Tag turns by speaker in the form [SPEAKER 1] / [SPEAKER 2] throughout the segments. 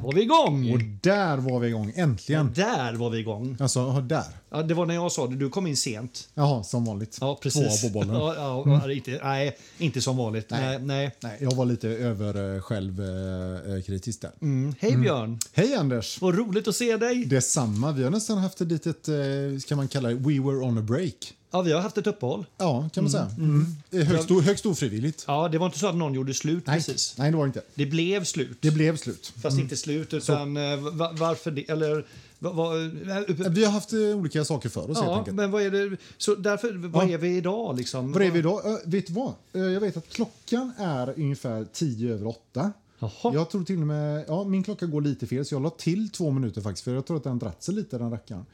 [SPEAKER 1] var vi igång!
[SPEAKER 2] Och där var vi igång, äntligen.
[SPEAKER 1] Där var vi igång.
[SPEAKER 2] Alltså, där.
[SPEAKER 1] Ja, det var när jag sa det, du kom in sent.
[SPEAKER 2] Jaha, som vanligt.
[SPEAKER 1] Ja, precis.
[SPEAKER 2] Tvåa på bollen.
[SPEAKER 1] Ja, ja, ja, riktigt. Nej, inte som vanligt. Nej.
[SPEAKER 2] Nej.
[SPEAKER 1] Nej.
[SPEAKER 2] Nej, jag var lite över eh, själv eh, eh, kritisk där.
[SPEAKER 1] Mm. Hej Björn!
[SPEAKER 2] Hej Anders!
[SPEAKER 1] Vad roligt att se dig!
[SPEAKER 2] Detsamma, vi har nästan haft ett litet, eh, kan man kalla det, we were on a break.
[SPEAKER 1] Ja, vi har haft ett uppehåll.
[SPEAKER 2] Ja, kan man säga. Mm. Eh, Högst, o- högst ofrivilligt.
[SPEAKER 1] Ja, det var inte så att någon gjorde slut
[SPEAKER 2] Nej,
[SPEAKER 1] precis.
[SPEAKER 2] Nej, det var det inte.
[SPEAKER 1] Det blev slut.
[SPEAKER 2] Det blev slut.
[SPEAKER 1] Fast inte slut, utan eh, va, varför det? Eller... Va, va, eh,
[SPEAKER 2] Vi har haft eh, olika saker för oss helt
[SPEAKER 1] ja,
[SPEAKER 2] enkelt.
[SPEAKER 1] men vad är det? Så därför, vad
[SPEAKER 2] Ja.
[SPEAKER 1] är vi idag liksom?
[SPEAKER 2] Var är vi idag? Ö, vet du vad? Ö, jag vet att klockan är ungefär tio över åtta.
[SPEAKER 1] Jaha.
[SPEAKER 2] Jag tror till och med, ja, min klocka går lite fel så jag la till två minuter faktiskt för jag tror att den dratt sig lite den rackaren.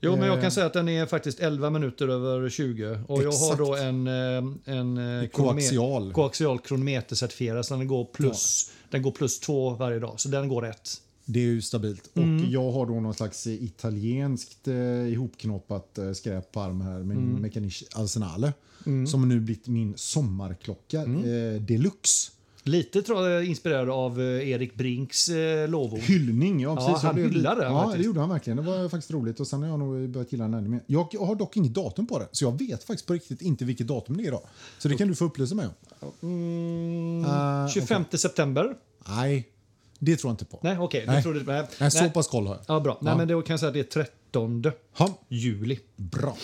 [SPEAKER 1] Jo, men jag
[SPEAKER 2] Eh,
[SPEAKER 1] kan säga att den är faktiskt 11 minuter över 20. Och jag har
[SPEAKER 2] Exakt.
[SPEAKER 1] då en, eh, en eh,
[SPEAKER 2] koaxial.
[SPEAKER 1] kronome- koaxial kronometercertifierad. Så den går, plus, den går plus två varje dag, så den går rätt.
[SPEAKER 2] Det är ju stabilt.
[SPEAKER 1] Mm.
[SPEAKER 2] Och jag har då någon slags eh, italienskt eh, ihopknoppat eh, skräp på arm här med
[SPEAKER 1] Mm.
[SPEAKER 2] min Mechanisch Arsenale. Som har nu blivit min sommarklocka
[SPEAKER 1] Mm.
[SPEAKER 2] eh, deluxe.
[SPEAKER 1] Lite tror jag inspirerad av eh, Erik Brinks eh, lovord.
[SPEAKER 2] Hyllning, ja precis.
[SPEAKER 1] han
[SPEAKER 2] Det-
[SPEAKER 1] hyllade den
[SPEAKER 2] Ja,
[SPEAKER 1] faktiskt.
[SPEAKER 2] det gjorde han verkligen. Det var faktiskt roligt. Och sen har jag nog börjat gilla den ännu mer. Jag har dock inget datum på den, så jag vet faktiskt på riktigt inte vilket datum det är idag. Så det kan du få upplysa mig om.
[SPEAKER 1] Mm,
[SPEAKER 2] Ah,
[SPEAKER 1] 25 september?
[SPEAKER 2] Nej, det tror jag inte på. Nej,
[SPEAKER 1] Nej, okej. Okay,
[SPEAKER 2] Nej.
[SPEAKER 1] jag trodde... Nej.
[SPEAKER 2] så
[SPEAKER 1] nej.
[SPEAKER 2] pass koll har jag.
[SPEAKER 1] Ja, bra. Nej,
[SPEAKER 2] Ja.
[SPEAKER 1] men då kan jag säga att det är 13
[SPEAKER 2] Ha,
[SPEAKER 1] juli.
[SPEAKER 2] bra.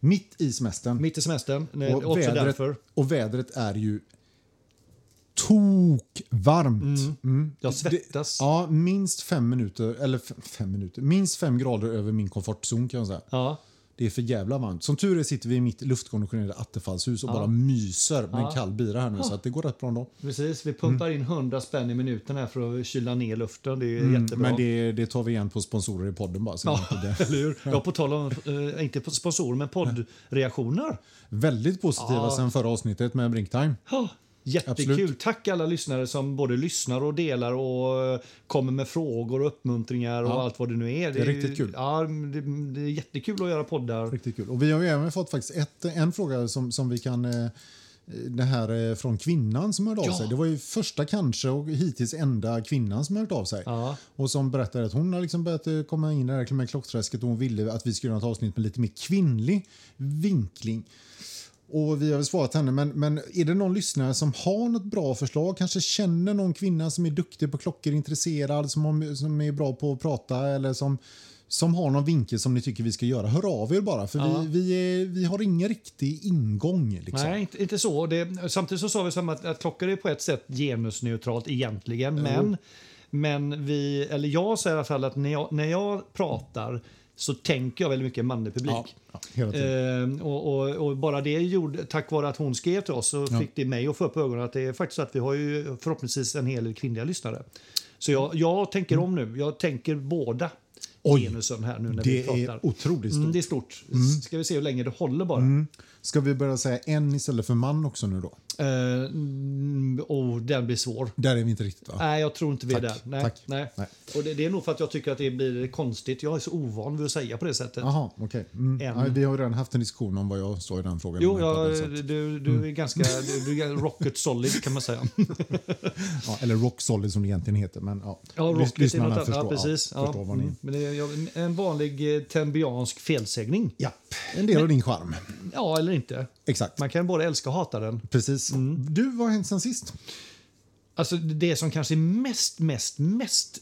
[SPEAKER 2] Mitt i semestern.
[SPEAKER 1] Mitt i semestern. Nej,
[SPEAKER 2] och,
[SPEAKER 1] också
[SPEAKER 2] vädret,
[SPEAKER 1] därför.
[SPEAKER 2] och vädret är ju tokvarmt. Mm.
[SPEAKER 1] Jag svettas.
[SPEAKER 2] Det, ja, minst fem minuter, eller f- fem minuter, minst fem grader över min komfortzon kan jag säga.
[SPEAKER 1] Ja.
[SPEAKER 2] Det är för jävla varmt. Som tur är sitter vi i mitt luftkonditionerade attefallshus och bara myser med en kall bira här nu så att det går rätt bra ändå.
[SPEAKER 1] Precis, vi pumpar in 100 spänn i minuten här för att kyla ner luften. Det är ju jättebra.
[SPEAKER 2] Mm, Men det, det tar vi igen på sponsorer i podden bara. Så
[SPEAKER 1] Ja,
[SPEAKER 2] det är inte det.
[SPEAKER 1] eller hur? Ja, på tal om, eh, inte på sponsorer, men poddreaktioner.
[SPEAKER 2] Väldigt positiva
[SPEAKER 1] Ja.
[SPEAKER 2] sen förra avsnittet med Brinktime.
[SPEAKER 1] Ja, jättekul.
[SPEAKER 2] Absolut.
[SPEAKER 1] Tack alla lyssnare som både lyssnar och delar och eh, kommer med frågor och uppmuntringar och
[SPEAKER 2] Ja.
[SPEAKER 1] allt vad det nu är.
[SPEAKER 2] Det är
[SPEAKER 1] ju-
[SPEAKER 2] riktigt kul.
[SPEAKER 1] Ja, det, det är jättekul att göra poddar.
[SPEAKER 2] Riktigt kul. Och vi har ju även fått faktiskt ett, en fråga som, som vi kan... eh, Det här eh, från kvinnan som hörde av
[SPEAKER 1] Ja.
[SPEAKER 2] sig. Det var ju första kanske och hittills enda kvinnan som hört av sig.
[SPEAKER 1] Ja.
[SPEAKER 2] Och som berättade att hon har liksom börjat eh, komma in i det här med klockträsket och hon ville att vi skulle göra ett avsnitt med lite mer kvinnlig vinkling. Och vi har väl svarat henne, men, men är det någon lyssnare som har något bra förslag? Kanske känner någon kvinna som är duktig på klockor, intresserad, som, har, som är bra på att prata eller som, som har någon vinkel som ni tycker vi ska göra? Hör av er bara, för
[SPEAKER 1] Ja.
[SPEAKER 2] vi, vi, är, vi har ingen riktig ingång. Liksom.
[SPEAKER 1] Nej, inte, inte så. Det, samtidigt så sa vi som att, att klockor är på ett sätt genusneutralt egentligen. Men, men vi, eller jag säger i alla fall att när jag, när jag pratar så tänker jag väldigt mycket manlig publik.
[SPEAKER 2] Ja, ja, hela tiden.
[SPEAKER 1] Ehm, och, och, och bara det gjorde, tack vare att hon skrev till oss så fick det mig att få upp ögonen att det är faktiskt så att vi har ju förhoppningsvis en hel del kvinnliga lyssnare. Så jag, jag tänker om nu. Jag tänker båda
[SPEAKER 2] Oj,
[SPEAKER 1] genusen här nu när vi
[SPEAKER 2] det
[SPEAKER 1] pratar.
[SPEAKER 2] är otroligt stort. Mm.
[SPEAKER 1] Mm, det är stort. Ska vi se hur länge det håller bara.
[SPEAKER 2] Ska vi börja säga en istället för man också nu då?
[SPEAKER 1] Eh, mm, oh, den blir svår.
[SPEAKER 2] Där är vi inte riktigt va?
[SPEAKER 1] Nej, jag tror inte vi är
[SPEAKER 2] Tack,
[SPEAKER 1] där. Nej,
[SPEAKER 2] tack.
[SPEAKER 1] Nej.
[SPEAKER 2] Nej.
[SPEAKER 1] Och det, det är nog för att jag tycker att det blir konstigt. Jag är så ovan vid att säga på det sättet.
[SPEAKER 2] Jaha, okej. Mm.
[SPEAKER 1] En.
[SPEAKER 2] Ja, vi har ju redan haft en diskussion om vad jag står i den frågan. i
[SPEAKER 1] Jo,
[SPEAKER 2] den här
[SPEAKER 1] jag,
[SPEAKER 2] podden, så att-
[SPEAKER 1] du,
[SPEAKER 2] Mm.
[SPEAKER 1] du är ganska du, du är rocket solid kan man säga.
[SPEAKER 2] Ja, eller Rock Solid som det egentligen heter. Men, ja.
[SPEAKER 1] Ja,
[SPEAKER 2] Lys-
[SPEAKER 1] rocket är
[SPEAKER 2] lyssnarna
[SPEAKER 1] något annat.
[SPEAKER 2] förstår,
[SPEAKER 1] Ja, precis.
[SPEAKER 2] Ja, förstår vad ni...
[SPEAKER 1] Mm. Men det är jag- en- en vanlig eh, tembiansk felsägning.
[SPEAKER 2] Japp, en del av din charm.
[SPEAKER 1] Ja, eller inte.
[SPEAKER 2] Exakt.
[SPEAKER 1] Man kan både älska och hata den.
[SPEAKER 2] Precis.
[SPEAKER 1] Mm.
[SPEAKER 2] Du, vad har hänt sen sist?
[SPEAKER 1] Alltså Det som kanske är mest, mest, mest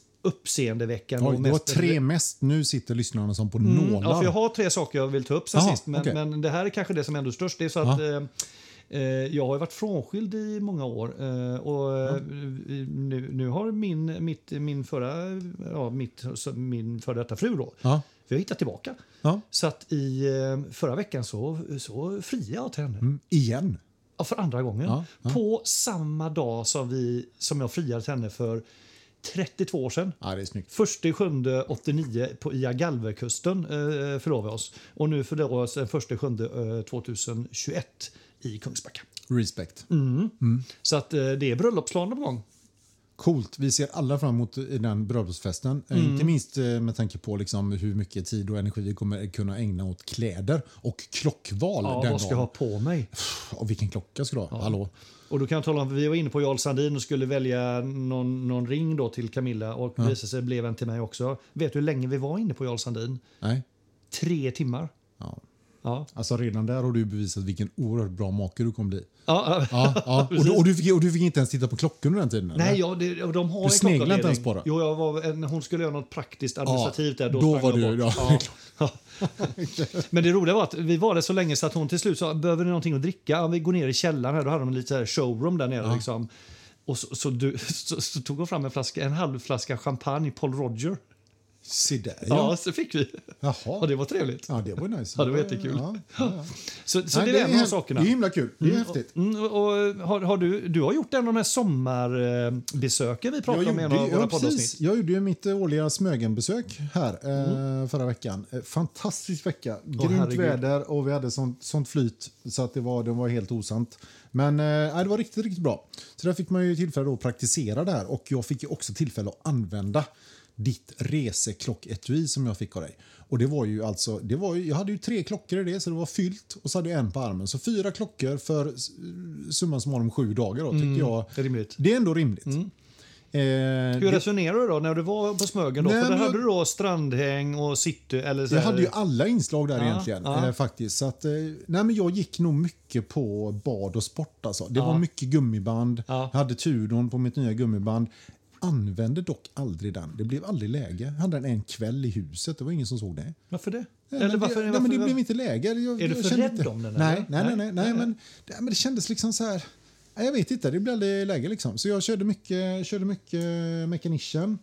[SPEAKER 1] uppseendeväckande...
[SPEAKER 2] Oj,
[SPEAKER 1] och
[SPEAKER 2] det var
[SPEAKER 1] mest
[SPEAKER 2] tre mest. Nu sitter lyssnarna som på nålar.
[SPEAKER 1] Mm. Ja, för jag har tre saker jag vill ta upp sen
[SPEAKER 2] Aha,
[SPEAKER 1] sist, men,
[SPEAKER 2] okej.
[SPEAKER 1] men det här är kanske det som är ändå störst. Det är så att eh, eh, jag har ju varit frånskild i många år eh, och eh, nu, nu har min, mitt, min förra, ja, mitt, min före detta fru då,
[SPEAKER 2] Ja.
[SPEAKER 1] vi har hittat tillbaka.
[SPEAKER 2] Ja.
[SPEAKER 1] Så att i eh, förra veckan så, så friade jag till henne.
[SPEAKER 2] Mm, igen.
[SPEAKER 1] Ja, för andra gången.
[SPEAKER 2] Ja,
[SPEAKER 1] På samma dag som, vi, som jag friade till henne för 32 år sedan.
[SPEAKER 2] Ja, det är snyggt.
[SPEAKER 1] Första i sjunde 89 på IA Galverkusten eh, förlovade vi oss. Och nu förlovade vi oss den första i sjunde eh, 2021 i Kungsbacka.
[SPEAKER 2] Respect.
[SPEAKER 1] Mm. Så att eh, det är bröllopsplaner på gång.
[SPEAKER 2] Coolt. Vi ser alla fram emot den bröllopsfesten. Eh,
[SPEAKER 1] Mm.
[SPEAKER 2] Inte minst eh, med tanke på liksom hur mycket tid och energi vi kommer kunna ägna åt kläder och klockval
[SPEAKER 1] Ja,
[SPEAKER 2] den
[SPEAKER 1] vad ska jag ha på mig?
[SPEAKER 2] Och vilken klocka ska du ha? Hallå?
[SPEAKER 1] Och då kan jag tala om, vi var inne på Jarl Sandin och skulle välja någon, någon ring då till Camilla och det visade sig blev en till mig också. Vet du hur länge vi var inne på Jarl Sandin?
[SPEAKER 2] Nej.
[SPEAKER 1] Tre timmar.
[SPEAKER 2] Ja.
[SPEAKER 1] Ja,
[SPEAKER 2] Alltså redan där har du bevisat vilken oerhört bra make du kommer bli.
[SPEAKER 1] ja, ja.
[SPEAKER 2] Ja, ja. Och, du, och, du fick, och du fick inte ens titta på klockan under den tiden? eller?
[SPEAKER 1] Nej, ja, det, och de har
[SPEAKER 2] Du
[SPEAKER 1] en
[SPEAKER 2] sneglade
[SPEAKER 1] klockanledning.
[SPEAKER 2] inte ens på det?
[SPEAKER 1] Jo, jag var, en, hon skulle göra något praktiskt administrativt där. Då,
[SPEAKER 2] då
[SPEAKER 1] sprang
[SPEAKER 2] var
[SPEAKER 1] jag
[SPEAKER 2] du-
[SPEAKER 1] bort.
[SPEAKER 2] ja.
[SPEAKER 1] Ja. Men det roliga var att vi var där så länge så att hon till slut sa behöver ni någonting att dricka? Ja, vi går ner i källaren här. Då hade de en liten så här showroom där nere. Liksom. Och så, så, du, så, så tog hon fram en, flaska, en halv flaska champagne, Paul Roger.
[SPEAKER 2] Se där
[SPEAKER 1] Ja,
[SPEAKER 2] ja.
[SPEAKER 1] så fick vi.
[SPEAKER 2] Jaha.
[SPEAKER 1] Och det var trevligt.
[SPEAKER 2] Ja, det var ju nice.
[SPEAKER 1] Ja, det var jättekul.
[SPEAKER 2] Ja, ja.
[SPEAKER 1] Så, så
[SPEAKER 2] Nej,
[SPEAKER 1] det är en av
[SPEAKER 2] häft-
[SPEAKER 1] sakerna.
[SPEAKER 2] Det är himla kul. Det är häftigt.
[SPEAKER 1] Mm, och, och har, har du, du har gjort en av de här sommarbesöken vi pratade om i en av våra
[SPEAKER 2] ja,
[SPEAKER 1] poddavsnitt.
[SPEAKER 2] precis. jag gjorde ju mitt eh, årliga Smögenbesök här eh, förra veckan. Eh, Fantastisk vecka. Grymt
[SPEAKER 1] Mm. herregud.
[SPEAKER 2] väder och vi hade sånt, sånt flyt så att det var, det var helt osant. Men eh, nej, det var riktigt, riktigt bra. Så där fick man ju tillfälle att praktisera det här och jag fick ju också tillfälle att använda ditt reseklockettui som jag fick av dig. Och det var ju alltså, det var ju, jag hade ju tre klockor i det så det var fyllt och så hade jag en på armen. Så fyra klockor för s- summan summarum sju dagar då tyckte jag.
[SPEAKER 1] Mm. Det är rimligt. Mm.
[SPEAKER 2] Det är ändå rimligt. Eh,
[SPEAKER 1] Hur
[SPEAKER 2] det-
[SPEAKER 1] resonerar du då när du var på Smögen? Då?
[SPEAKER 2] Nej,
[SPEAKER 1] För där
[SPEAKER 2] men jag-
[SPEAKER 1] hade du då strandhäng och city. Eller så
[SPEAKER 2] jag
[SPEAKER 1] här-
[SPEAKER 2] hade ju alla inslag där
[SPEAKER 1] Ja,
[SPEAKER 2] egentligen.
[SPEAKER 1] ja.
[SPEAKER 2] Eh, faktiskt. Så att, eh, nej, men jag gick nog mycket på bad och sport. Alltså. Det var mycket gummiband.
[SPEAKER 1] Ja.
[SPEAKER 2] Jag hade Tudorn på mitt nya gummiband. Använde dock aldrig den. Det blev aldrig läge. Jag hade den en kväll i huset. Det var ingen som såg det.
[SPEAKER 1] Varför det?
[SPEAKER 2] Nej,
[SPEAKER 1] eller
[SPEAKER 2] men
[SPEAKER 1] varför,
[SPEAKER 2] det, nej,
[SPEAKER 1] varför,
[SPEAKER 2] men det blev inte läge. Jag,
[SPEAKER 1] Är du
[SPEAKER 2] jag
[SPEAKER 1] för
[SPEAKER 2] kände
[SPEAKER 1] rädd
[SPEAKER 2] inte-
[SPEAKER 1] om den, eller?
[SPEAKER 2] Nej, nej, nej, nej,
[SPEAKER 1] Nej,
[SPEAKER 2] nej, men, det, men det kändes liksom så här... Nej, jag vet inte, det blev aldrig läge. Liksom. Så jag körde mycket, körde mycket Mechanician.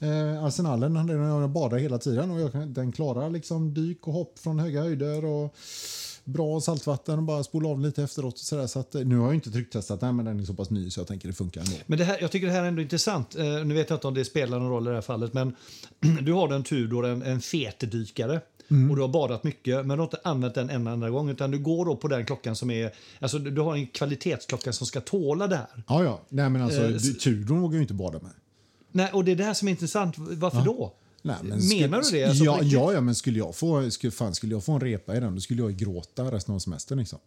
[SPEAKER 2] Eh, Arsenalen hade den jag badade hela tiden och jag, kan- den klarar liksom dyk och hopp från höga höjder och bra saltvatten och bara spola av lite efteråt. Och så där. Så att, eh, nu har jag inte trycktestat den, men den är så pass ny så jag tänker det funkar ändå.
[SPEAKER 1] Men det här, jag tycker det här är ändå intressant. Eh, nu vet jag inte om det spelar någon roll i det här fallet. Men du har en Tudor, en, en fetdykare.
[SPEAKER 2] Mm.
[SPEAKER 1] Och du har badat mycket, men du har inte använt den en enda gång. Utan du går då på den klockan som är... Alltså du du har en kvalitetsklocka som ska tåla det här.
[SPEAKER 2] Ja, ja. Nej, men alltså,
[SPEAKER 1] Eh,
[SPEAKER 2] du, Tudorn vågar ju inte bada med.
[SPEAKER 1] Nej, och det är det här som är intressant. Varför då?
[SPEAKER 2] Nej, men
[SPEAKER 1] Menar
[SPEAKER 2] skulle-
[SPEAKER 1] du det? Alltså, på
[SPEAKER 2] ja,
[SPEAKER 1] riktigt?
[SPEAKER 2] ja, ja, men skulle jag, få, skulle, fan, skulle jag få en repa i den då skulle jag gråta resten av semestern. Liksom.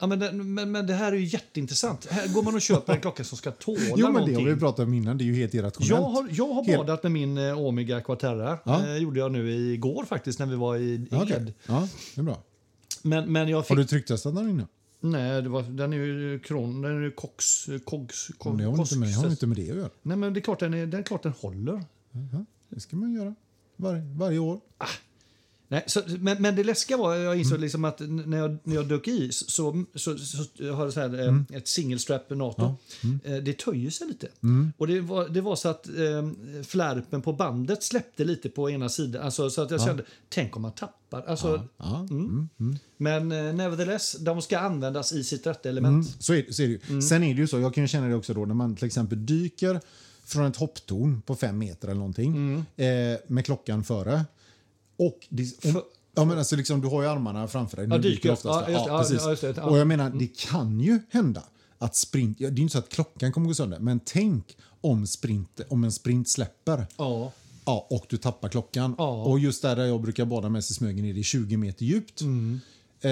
[SPEAKER 1] Ja, men, den- men, men det här är ju jätteintressant. Här går man och köper en klocka som ska tåla
[SPEAKER 2] Jo, men det
[SPEAKER 1] någonting.
[SPEAKER 2] har vi pratat om innan. Det är ju helt irrationellt.
[SPEAKER 1] Jag har, jag har
[SPEAKER 2] Helt-
[SPEAKER 1] badat med min eh, Omega Quaterra.
[SPEAKER 2] Ja.
[SPEAKER 1] Eh, gjorde jag nu igår faktiskt när vi var i i
[SPEAKER 2] Ja,
[SPEAKER 1] Ed.
[SPEAKER 2] okej. Ja, det är bra.
[SPEAKER 1] Men, men jag
[SPEAKER 2] Har
[SPEAKER 1] fick...
[SPEAKER 2] du trycktestat den innan?
[SPEAKER 1] Nej, det var, den är ju kron... Den är ju koks... Kogs...
[SPEAKER 2] Men
[SPEAKER 1] Kogs...
[SPEAKER 2] Det har väl inte med, det har väl inte med det att göra.
[SPEAKER 1] Nej, men det är klart den, är, den, är klart den håller.
[SPEAKER 2] Det ska man göra varje, varje år.
[SPEAKER 1] Nej, så, men, men det läskiga var, jag
[SPEAKER 2] Mm.
[SPEAKER 1] insåg liksom att n- när jag, när jag dök i så, så, så, så har jag så här, eh,
[SPEAKER 2] Mm.
[SPEAKER 1] ett singelstrap NATO. Eh, Det töjer sig lite.
[SPEAKER 2] Mm.
[SPEAKER 1] Och det var, det var så att eh, flärpen på bandet släppte lite på ena sidan. Alltså, så att jag kände, tänk om man tappar. Alltså,
[SPEAKER 2] Ja.
[SPEAKER 1] Men eh, nevertheless, de ska användas i sitt rätta element.
[SPEAKER 2] Så är, så är det ju.
[SPEAKER 1] Mm.
[SPEAKER 2] Sen är det ju så, jag kan ju känna det också då när man till exempel dyker från ett hopptorn på fem meter eller
[SPEAKER 1] Mm.
[SPEAKER 2] någonting eh, med klockan före. Och det, om,
[SPEAKER 1] För-
[SPEAKER 2] ja, men alltså liksom, du har ju armarna framför dig när
[SPEAKER 1] Ja,
[SPEAKER 2] du
[SPEAKER 1] dyker.
[SPEAKER 2] dyker oftast.
[SPEAKER 1] Ja, just det. Ja, ja, just det. Ja. Mm.
[SPEAKER 2] Och jag menar, det kan ju hända att sprint, ja, det är ju inte så att klockan kommer gå sönder, men tänk om, sprint, om en sprint släpper.
[SPEAKER 1] Ja.
[SPEAKER 2] Ja, och du tappar klockan.
[SPEAKER 1] Ja.
[SPEAKER 2] Och just där, där jag brukar bada med sig smögen är det 20 meter djupt. Eh,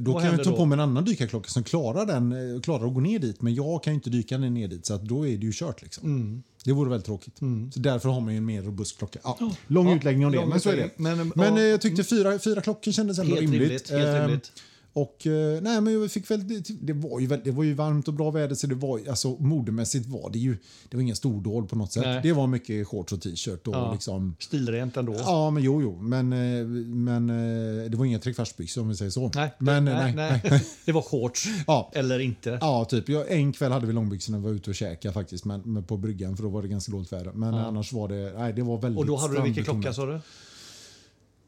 [SPEAKER 2] då kan jag
[SPEAKER 1] Mm. händer
[SPEAKER 2] ju ta
[SPEAKER 1] då?
[SPEAKER 2] på mig en annan dykarklocka som klarar, den, eh, klarar att gå ner dit. Men jag kan ju inte dyka ner ner dit så att då är det ju kört. Liksom.
[SPEAKER 1] Mm.
[SPEAKER 2] Det vore väldigt tråkigt. Så därför har man ju en mer robust klocka. Ja, lång
[SPEAKER 1] Ja,
[SPEAKER 2] utläggning om det,
[SPEAKER 1] lång
[SPEAKER 2] men så är det.
[SPEAKER 1] utläggning. Men,
[SPEAKER 2] Men,
[SPEAKER 1] eh,
[SPEAKER 2] eh,
[SPEAKER 1] ja.
[SPEAKER 2] jag tyckte fyra, fyra klockor kändes ändå
[SPEAKER 1] Helt
[SPEAKER 2] rimligt.
[SPEAKER 1] rimligt, helt
[SPEAKER 2] Eh,
[SPEAKER 1] rimligt.
[SPEAKER 2] och, eh, nej, men jag fick väl, det, det, var ju, väl- det var ju varmt och bra väder, så det var, ju- alltså, modemässigt var det ju det var inga stordåd på något sätt.
[SPEAKER 1] Nej.
[SPEAKER 2] Det var mycket shorts och t-shirt. Och
[SPEAKER 1] Ja.
[SPEAKER 2] liksom,
[SPEAKER 1] Stilrent ändå.
[SPEAKER 2] ja, men jo, jo. Men, eh, men eh, det var inga trekvartsbyxor om vi säger så.
[SPEAKER 1] Nej,
[SPEAKER 2] men, eh,
[SPEAKER 1] nej, nej. Det var shorts.
[SPEAKER 2] Ja.
[SPEAKER 1] Eller inte.
[SPEAKER 2] Ja, typ. Jag, en kväll hade vi långbyxorna och var ute och käkade faktiskt, men, men på bryggan för då var det ganska dåligt väder. Men annars var det, nej, det var väldigt
[SPEAKER 1] Och då hade du vilken klocka
[SPEAKER 2] strandbetonat.
[SPEAKER 1] sa du?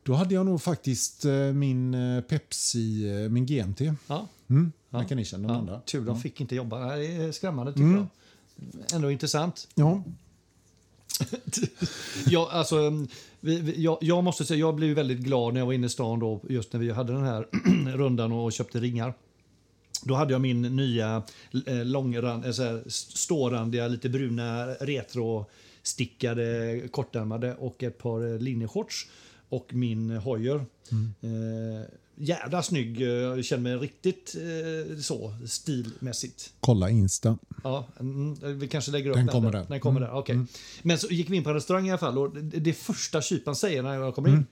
[SPEAKER 2] Då hade jag nog faktiskt eh, min eh, Pepsi, eh, min GMT.
[SPEAKER 1] Ja.
[SPEAKER 2] Mm, Mechanician, den andra.
[SPEAKER 1] Tur de fick inte jobba. Nej, Det är skrämmande tycker jag. Ändå intressant.
[SPEAKER 2] Ja,
[SPEAKER 1] Jag, alltså, mm, vi, vi, jag, jag måste säga, jag blev ju väldigt glad när jag var inne i stan då, just när vi hade den här rundan och köpte ringar. Då hade jag min nya eh, långrand, eh, så här, st- stårandiga, lite bruna retrostickade kortärmade och ett par eh, linjeshorts och min Hoyer. Eh, jävla snygg. eh, Jag känner mig riktigt eh, så stilmässigt.
[SPEAKER 2] Kolla Insta.
[SPEAKER 1] Ja, mm, vi kanske lägger upp
[SPEAKER 2] Den kommer där.
[SPEAKER 1] Den kommer där. okej. Men så gick vi in på en restaurang i alla fall och det det första kyparen säger när jag kommer in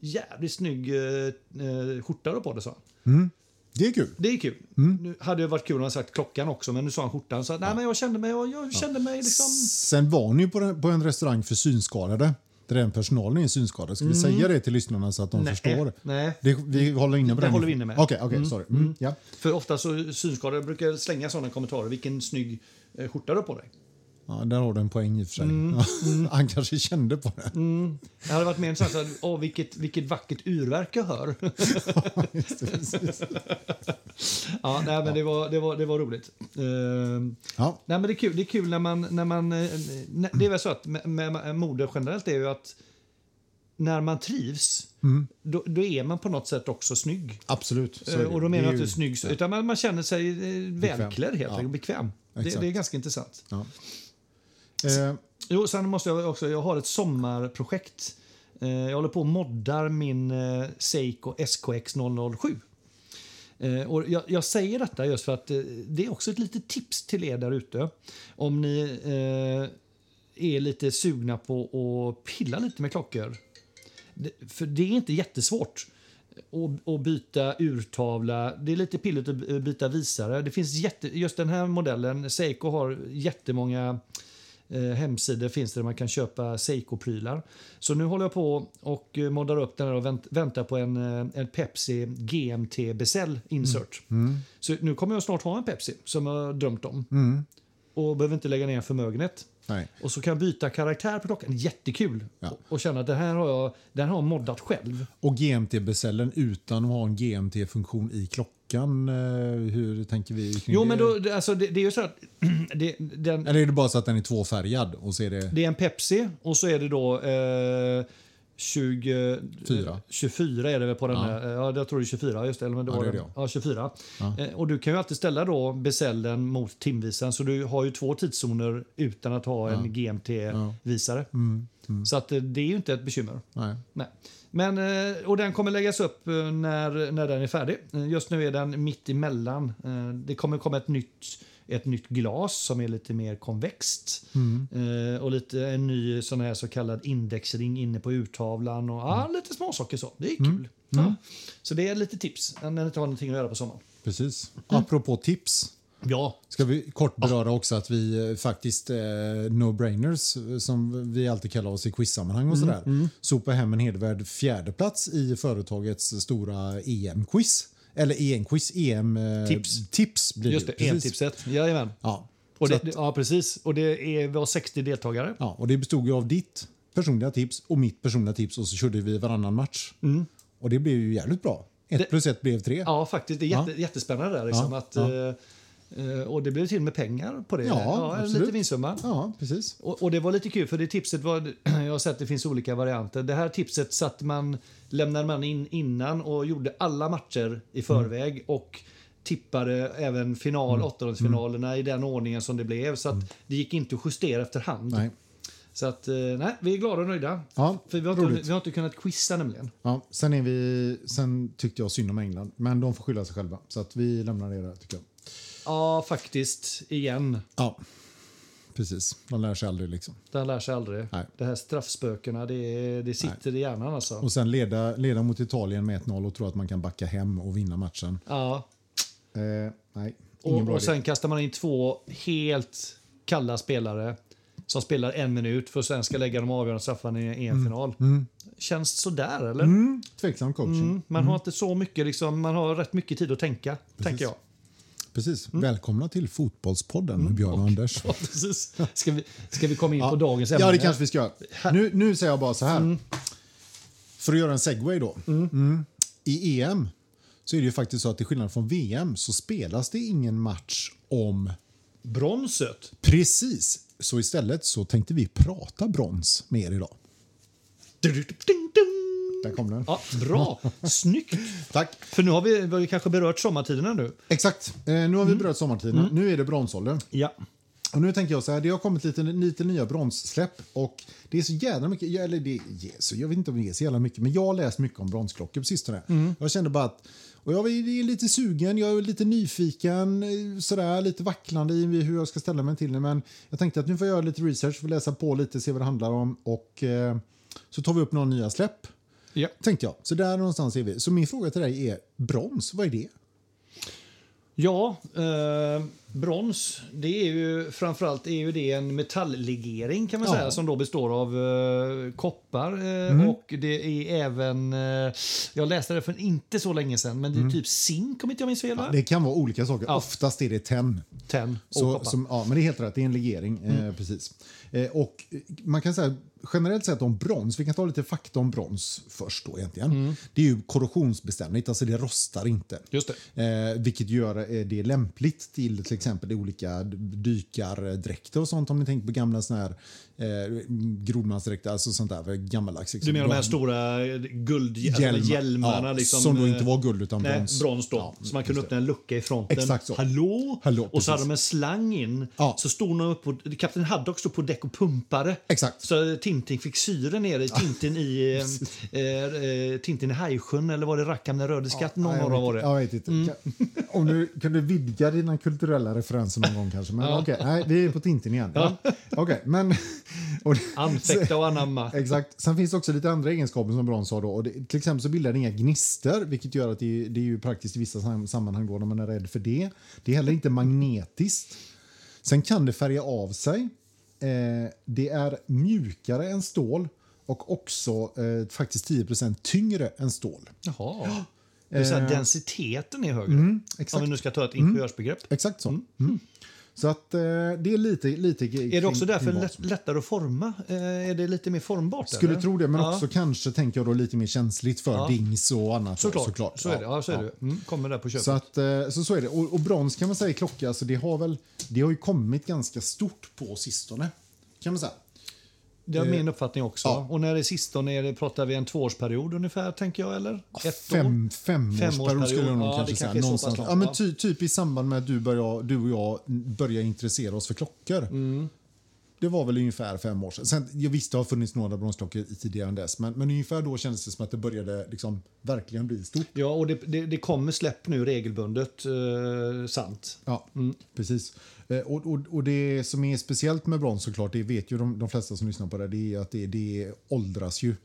[SPEAKER 1] Jävligt snygg eh, eh, skjorta du har på dig, sa han.
[SPEAKER 2] Det är kul.
[SPEAKER 1] Det är kul. Nu hade det varit kul om han sagt klockan också, men nu sa han skjortan. Så, Nej, men jag kände mig, jag, jag kände mig liksom...
[SPEAKER 2] Sen var ni ju på, den- på en restaurang för synskadade. Där den personalen är synskadad. Ska vi säga det till lyssnarna så att de
[SPEAKER 1] Mm. Nej,
[SPEAKER 2] förstår?
[SPEAKER 1] nej.
[SPEAKER 2] Det, vi håller inne på
[SPEAKER 1] Det
[SPEAKER 2] den.
[SPEAKER 1] håller vi inne med.
[SPEAKER 2] Okej, okej, sorry. Mm, Ja.
[SPEAKER 1] För ofta så synskadade brukar slänga sådana kommentarer. Vilken snygg eh, skjorta du har på dig.
[SPEAKER 2] ja, där har du en poäng i och för sig.
[SPEAKER 1] Mm.
[SPEAKER 2] Ja, Han kanske kände på det.
[SPEAKER 1] Det hade varit mer intressant så här, åh, vilket, vilket vackert urverk jag hör.
[SPEAKER 2] Just det, precis.
[SPEAKER 1] ja, nej, men det var, det var, det var roligt. Ehm,
[SPEAKER 2] ja.
[SPEAKER 1] Nej, men det är kul, det är kul när man... När man eh, när- det är väl så att med, med mode generellt är ju att när man trivs, då, då är man på något sätt också snygg.
[SPEAKER 2] Absolut. Mm. så är
[SPEAKER 1] Eh,
[SPEAKER 2] det.
[SPEAKER 1] Och då menar
[SPEAKER 2] Det är
[SPEAKER 1] jag inte
[SPEAKER 2] ju-
[SPEAKER 1] snygg, utan man, man känner sig eh, välklädd helt
[SPEAKER 2] Ja.
[SPEAKER 1] enkelt, bekväm. Det,
[SPEAKER 2] Exakt.
[SPEAKER 1] det är ganska intressant.
[SPEAKER 2] Ja. Eh,
[SPEAKER 1] Jo, sen måste jag också, jag har ett sommarprojekt. Eh, Jag håller på och moddar min eh, Seiko SKX 007. Eh, Och jag, jag säger detta just för att eh, det är också ett litet tips till er där ute. Om ni eh, är lite sugna på att pilla lite med klockor. Det- För det är inte jättesvårt att- att byta urtavla. Det är lite pilligt att by- byta visare. Det finns jätte, just den här modellen, Seiko har jättemånga eh, hemsidor finns det där man kan köpa Seiko-prylar. Så nu håller jag på och eh, moddar upp den här och vänt, väntar på en, eh, en Pepsi GMT Besell insert. Så nu kommer jag snart ha en Pepsi som jag har drömt om. Och behöver inte lägga ner en förmögenhet.
[SPEAKER 2] nej.
[SPEAKER 1] Och så kan jag byta karaktär på klockan. Jättekul!
[SPEAKER 2] Ja.
[SPEAKER 1] Och, och känna att det här har jag, den har jag moddat själv.
[SPEAKER 2] Och GMT-besällen utan att ha en GMT-funktion i klockan. eh, Hur tänker vi kring
[SPEAKER 1] Jo,
[SPEAKER 2] det?
[SPEAKER 1] men då, det- alltså, det, det är ju så att det, den,
[SPEAKER 2] Eller är det bara så att den är tvåfärgad och så är det...
[SPEAKER 1] Det är en Pepsi och så är det då eh, 20,
[SPEAKER 2] Fyra.
[SPEAKER 1] 24 är det väl på den
[SPEAKER 2] Ja.
[SPEAKER 1] här. Ja, jag tror det är 24. Just det, eller men det
[SPEAKER 2] Ja,
[SPEAKER 1] var
[SPEAKER 2] det är
[SPEAKER 1] den.
[SPEAKER 2] det,
[SPEAKER 1] Ja, 24. Eh, och du kan ju alltid ställa då besällen mot timvisan så du har ju två tidszoner utan att ha en GMT-visare.
[SPEAKER 2] Mm,
[SPEAKER 1] Så att, eh, det är ju inte ett bekymmer.
[SPEAKER 2] Nej.
[SPEAKER 1] Nej. Men, eh, och den kommer läggas upp eh, när, när den är färdig. Eh, Just nu är den mitt emellan. Eh, Det kommer komma ett nytt, ett nytt glas som är lite mer konvext. Eh, Och lite, en ny sån här så kallad indexring inne på urtavlan. Och, ah, lite småsaker så. Det är kul. Ja. Så det är lite tips när ni inte har någonting att göra på sommaren.
[SPEAKER 2] Precis. Apropå tips.
[SPEAKER 1] Ja,
[SPEAKER 2] Ska vi kort beröra också att vi eh, faktiskt eh, no-brainers, eh, som vi alltid kallar oss i quizsammanhang
[SPEAKER 1] Mm,
[SPEAKER 2] och sådär, sopar hem en hedervärd fjärdeplats i företagets stora EM-quiz. Eller EM-quiz, EM-tips
[SPEAKER 1] Tips.
[SPEAKER 2] tips blir
[SPEAKER 1] just
[SPEAKER 2] det.
[SPEAKER 1] det.
[SPEAKER 2] precis.
[SPEAKER 1] Entipset. Jajamän.
[SPEAKER 2] Ja.
[SPEAKER 1] Och
[SPEAKER 2] Så
[SPEAKER 1] det, ja, precis. Och det är, vi har 60 deltagare.
[SPEAKER 2] Ja, och det bestod ju av ditt personliga tips och mitt personliga tips och så körde vi varannan match. Och det blev ju jävligt bra. Ett
[SPEAKER 1] Mm. Det-
[SPEAKER 2] plus ett blev tre.
[SPEAKER 1] Ja, faktiskt. Det är jätte, jättespännande. Där, liksom,
[SPEAKER 2] Ja,
[SPEAKER 1] att,
[SPEAKER 2] ja.
[SPEAKER 1] eh, eh, och det blev till med pengar på det.
[SPEAKER 2] Ja,
[SPEAKER 1] en
[SPEAKER 2] absolut.
[SPEAKER 1] lite vinstsumma.
[SPEAKER 2] Ja, precis.
[SPEAKER 1] Och, och det var lite kul, för det tipset var... Jag har sett att det finns olika varianter. Det här tipset satt man, lämnade man in innan och gjorde alla matcher
[SPEAKER 2] Mm.
[SPEAKER 1] i förväg. Och tippade även final,
[SPEAKER 2] Mm.
[SPEAKER 1] åttondelsfinalerna i den ordningen som det blev. Så att det gick inte att justera efterhand.
[SPEAKER 2] Nej.
[SPEAKER 1] Så att, eh, nej, vi är glada och nöjda.
[SPEAKER 2] Ja,
[SPEAKER 1] För vi har, inte,
[SPEAKER 2] roligt.
[SPEAKER 1] vi har inte kunnat quizza nämligen.
[SPEAKER 2] Ja, sen, är vi, sen tyckte jag synd om England, men de får skylla sig själva. Så att vi lämnar det där tycker jag.
[SPEAKER 1] Ja, faktiskt. Igen.
[SPEAKER 2] Ja, precis. De lär sig aldrig liksom.
[SPEAKER 1] Den lär sig aldrig.
[SPEAKER 2] Nej.
[SPEAKER 1] Det här straffspökena, det, är- det sitter i hjärnan alltså.
[SPEAKER 2] Och sen leda, leda mot Italien med 1-0 och tro att man kan backa hem och vinna matchen.
[SPEAKER 1] Ja.
[SPEAKER 2] Eh, nej, ingen
[SPEAKER 1] Och,
[SPEAKER 2] bra
[SPEAKER 1] och
[SPEAKER 2] idé.
[SPEAKER 1] sen kastar man in två helt kalla spelare som spelar en minut för att sen ska lägga de avgörande straffarna i en final. Känns sådär eller?
[SPEAKER 2] Mm, tveksam coaching.
[SPEAKER 1] Man har inte så mycket, liksom, man har rätt mycket tid att tänka, tänker jag.
[SPEAKER 2] Precis. Välkomna till Fotbollspodden med Björn Mm. och Anders.
[SPEAKER 1] Ja, precis. Ska vi, ska vi komma in på dagens ämne? Mm.
[SPEAKER 2] Ja, det kanske vi ska göra. Nu, nu säger jag bara så här. För att göra en segway då. Mm. I EM så är det ju faktiskt så att till skillnad från VM så spelas det ingen match om
[SPEAKER 1] Bronset.
[SPEAKER 2] Precis. Så istället så tänkte vi prata brons med er idag.
[SPEAKER 1] Ding, ding.
[SPEAKER 2] Där kom den.
[SPEAKER 1] Ja, bra! Snyggt!
[SPEAKER 2] Tack.
[SPEAKER 1] För nu har vi, vi har kanske berört sommartiderna nu.
[SPEAKER 2] Exakt. Eh, nu har vi
[SPEAKER 1] Mm.
[SPEAKER 2] berört sommartiden. Nu är det bronsåldern.
[SPEAKER 1] Ja.
[SPEAKER 2] Och nu tänker jag så här, det har kommit lite, lite nya bronssläpp och det är så jävla mycket, ja, eller det är, yes, jag vet inte om det är så jävla mycket, men jag har läst mycket om bronsklockor på sistone. Jag kände bara att, och jag är lite sugen, jag är lite nyfiken, eh, sådär, lite vacklande i hur jag ska ställa mig till det, men jag tänkte att nu får jag göra lite research, får läsa på lite, se vad det handlar om och eh, så tar vi upp några nya släpp,
[SPEAKER 1] ja.
[SPEAKER 2] tänkte jag. Så där någonstans är vi. Så min fråga till dig är, brons, vad är det?
[SPEAKER 1] Ja, eh, brons, det är ju framförallt är ju det en metalllegering kan man
[SPEAKER 2] Ja. Mhm.
[SPEAKER 1] säga som då består av eh, koppar eh, och det är även, eh, jag läste det för inte så länge sedan, men det är typ zink om inte jag minns fel. va?
[SPEAKER 2] Mhm. Det kan vara olika saker, oftast är det tenn.
[SPEAKER 1] Tenn och
[SPEAKER 2] Så,
[SPEAKER 1] koppar.
[SPEAKER 2] som, ja, men det är helt rätt, det är en legering.
[SPEAKER 1] Mm.
[SPEAKER 2] Eh, precis. Eh, och eh, man kan säga generellt sett om brons, vi kan ta lite fakta om brons först då egentligen. Det är ju korrosionsbeständigt, alltså det rostar inte.
[SPEAKER 1] Mm. Just
[SPEAKER 2] Eh, vilket gör eh, det lämpligt till till exempel i olika d- dykardräkter och sånt om ni tänker på gamla såna här eh, grodmansdräkter, alltså sånt där gammaldags.
[SPEAKER 1] Du
[SPEAKER 2] liksom.
[SPEAKER 1] menar de här
[SPEAKER 2] Bron-
[SPEAKER 1] stora eh, guld, alltså, hjälmarna?
[SPEAKER 2] ja,
[SPEAKER 1] liksom,
[SPEAKER 2] som då
[SPEAKER 1] eh,
[SPEAKER 2] inte var guld utan
[SPEAKER 1] Nej,
[SPEAKER 2] brons.
[SPEAKER 1] brons då.
[SPEAKER 2] Ja,
[SPEAKER 1] så man
[SPEAKER 2] just
[SPEAKER 1] kunde
[SPEAKER 2] det.
[SPEAKER 1] öppna en lucka i fronten.
[SPEAKER 2] Exakt så.
[SPEAKER 1] Hallå?
[SPEAKER 2] Hallå,
[SPEAKER 1] och så hade
[SPEAKER 2] precis.
[SPEAKER 1] de en slang in.
[SPEAKER 2] Ja.
[SPEAKER 1] Så stod någon upp och, Kapten Haddock stod på däck och pumpade.
[SPEAKER 2] Exakt.
[SPEAKER 1] Så Tintin fick syre ner i Tintin i, eh, eh, Tintin i Hajsjön eller var det Rackham den röde skatt? någon
[SPEAKER 2] Nej, jag
[SPEAKER 1] av dem
[SPEAKER 2] vet
[SPEAKER 1] var det. Mm.
[SPEAKER 2] inte. Jag vet inte. Kan- Om du kunde vidga dina kulturella referenser någon gång kanske. Men okej, nej, vi är på Tintin igen. Ja. Okej, men... Och det,
[SPEAKER 1] Anfäkta och anamma.
[SPEAKER 2] Exakt. Sen finns det också lite andra egenskaper som brons har. Då. Och det, till exempel så bildar det inga gnistor, vilket gör att det, det är ju praktiskt i vissa sam- sammanhang då när man är rädd för det. Det är heller inte magnetiskt. Sen kan det färga av sig. Eh, det är mjukare än stål och också eh, faktiskt 10 tyngre än stål.
[SPEAKER 1] Jaha. Det vill säga densiteten är högre. Om
[SPEAKER 2] Eh, mm, exakt.
[SPEAKER 1] vi nu ska ta ett ingenjörsbegrepp.
[SPEAKER 2] Exakt så. Mm. Så att eh, det är lite... lite
[SPEAKER 1] Är det också därför lätt, lättare att forma? Eh, är det lite mer formbart?
[SPEAKER 2] Skulle
[SPEAKER 1] eller?
[SPEAKER 2] tro det, men
[SPEAKER 1] Ja.
[SPEAKER 2] också kanske tänker jag då lite mer känsligt för dings och annat.
[SPEAKER 1] Såklart.
[SPEAKER 2] såklart.
[SPEAKER 1] Så är det. Ja, så är
[SPEAKER 2] ja.
[SPEAKER 1] det. Mm, kommer där på köpet.
[SPEAKER 2] Så, att, eh, så, så är det. Och, och brons kan man säga i klocka, alltså det, har väl, det har ju kommit ganska stort på sistone. Kan man säga.
[SPEAKER 1] det är min uppfattning också.
[SPEAKER 2] eh, ja.
[SPEAKER 1] Och när det är sistone är det, pratar vi en tvåårsperiod ungefär, tänker jag, eller? Ett år?
[SPEAKER 2] Fem, femårsperiod
[SPEAKER 1] Femårsperiod,
[SPEAKER 2] skulle jag nog
[SPEAKER 1] ja, det kanske
[SPEAKER 2] kanske säga.
[SPEAKER 1] är så pass
[SPEAKER 2] någonstans.
[SPEAKER 1] långt,
[SPEAKER 2] ja, men
[SPEAKER 1] va?
[SPEAKER 2] ty, typ i samband med att du, börjar, du och jag började intressera oss för klockor.
[SPEAKER 1] Mm.
[SPEAKER 2] Det var väl ungefär fem år sedan. Sen, jag visste det har funnits några bronsklockor i tidigare än dess, men, men ungefär då kändes det som att det började liksom, verkligen bli stort.
[SPEAKER 1] Ja, och det, det, det kommer släpp nu regelbundet, eh, sant.
[SPEAKER 2] Ja, mm, precis. Eh, Och, och, och det som är speciellt med brons såklart, det vet ju de, de flesta som lyssnar på det, det är att det, det åldras ju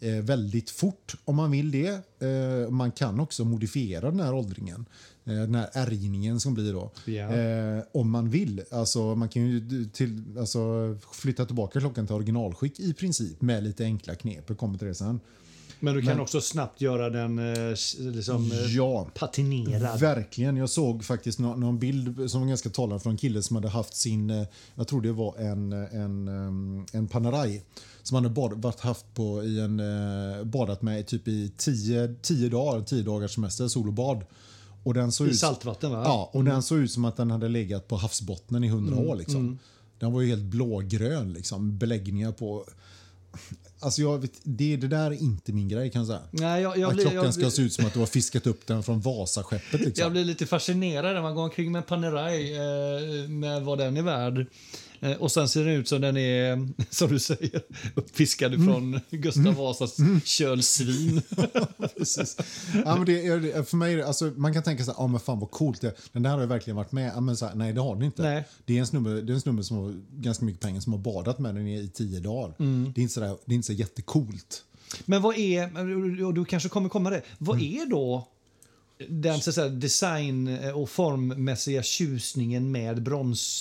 [SPEAKER 2] eh, väldigt fort om man vill det. Eh, man kan också modifiera den här åldringen, eh, den här ärgningen som blir då,
[SPEAKER 1] Ja.
[SPEAKER 2] eh, om man vill. Alltså, man kan ju till, alltså, flytta tillbaka klockan till originalskick i princip med lite enkla knep. Jag kommer till det sen.
[SPEAKER 1] Men du kan också snabbt göra den eh, s- liksom, eh,
[SPEAKER 2] Ja.
[SPEAKER 1] patinerad.
[SPEAKER 2] Verkligen. Jag såg faktiskt nå- någon bild som var ganska talande från en kille som hade haft sin, eh, jag tror det var en, eh, en, em, en Panerai som han hade bad, varit haft på i en, eh, badat med typ i 10 10 dagar, 10 dagars semester, sol och bad. Och den såg
[SPEAKER 1] I
[SPEAKER 2] ut,
[SPEAKER 1] saltvatten, va? Mm.
[SPEAKER 2] Ja, och den såg ut som att den hade legat på havsbottnen i 100 år. Liksom. Den var ju helt blågrön, liksom, beläggningar på... Alltså jag vet, det, det där är inte min grej kan jag säga.
[SPEAKER 1] Nej, jag, jag,
[SPEAKER 2] Att
[SPEAKER 1] blir,
[SPEAKER 2] klockan
[SPEAKER 1] jag,
[SPEAKER 2] ska
[SPEAKER 1] blir,
[SPEAKER 2] se ut som att du har fiskat upp den från Vasaskeppet. Liksom.
[SPEAKER 1] jag blir lite fascinerad när man går omkring med en Panerai, eh, med vad den är värd. Eh, Och sen ser den ut som den är, som du säger, uppfiskad
[SPEAKER 2] Mm.
[SPEAKER 1] från Gustav Vasas kölsvin.
[SPEAKER 2] Precis. Ja, men det, är- för mig, är det- alltså, man kan tänka så här, ah, men fan vad coolt det är. Den där har jag verkligen varit med. Ja, men så här, nej, det har den inte.
[SPEAKER 1] Nej.
[SPEAKER 2] Det, är en snubbe, det är en snubbe som har ganska mycket pengar som har badat med den i tio dagar. Det, är inte så där, det är inte så jättecoolt.
[SPEAKER 1] Men vad är, och du kanske kommer komma det, vad
[SPEAKER 2] Mm.
[SPEAKER 1] är då den så att säga, design eh, och formmässiga tjusningen med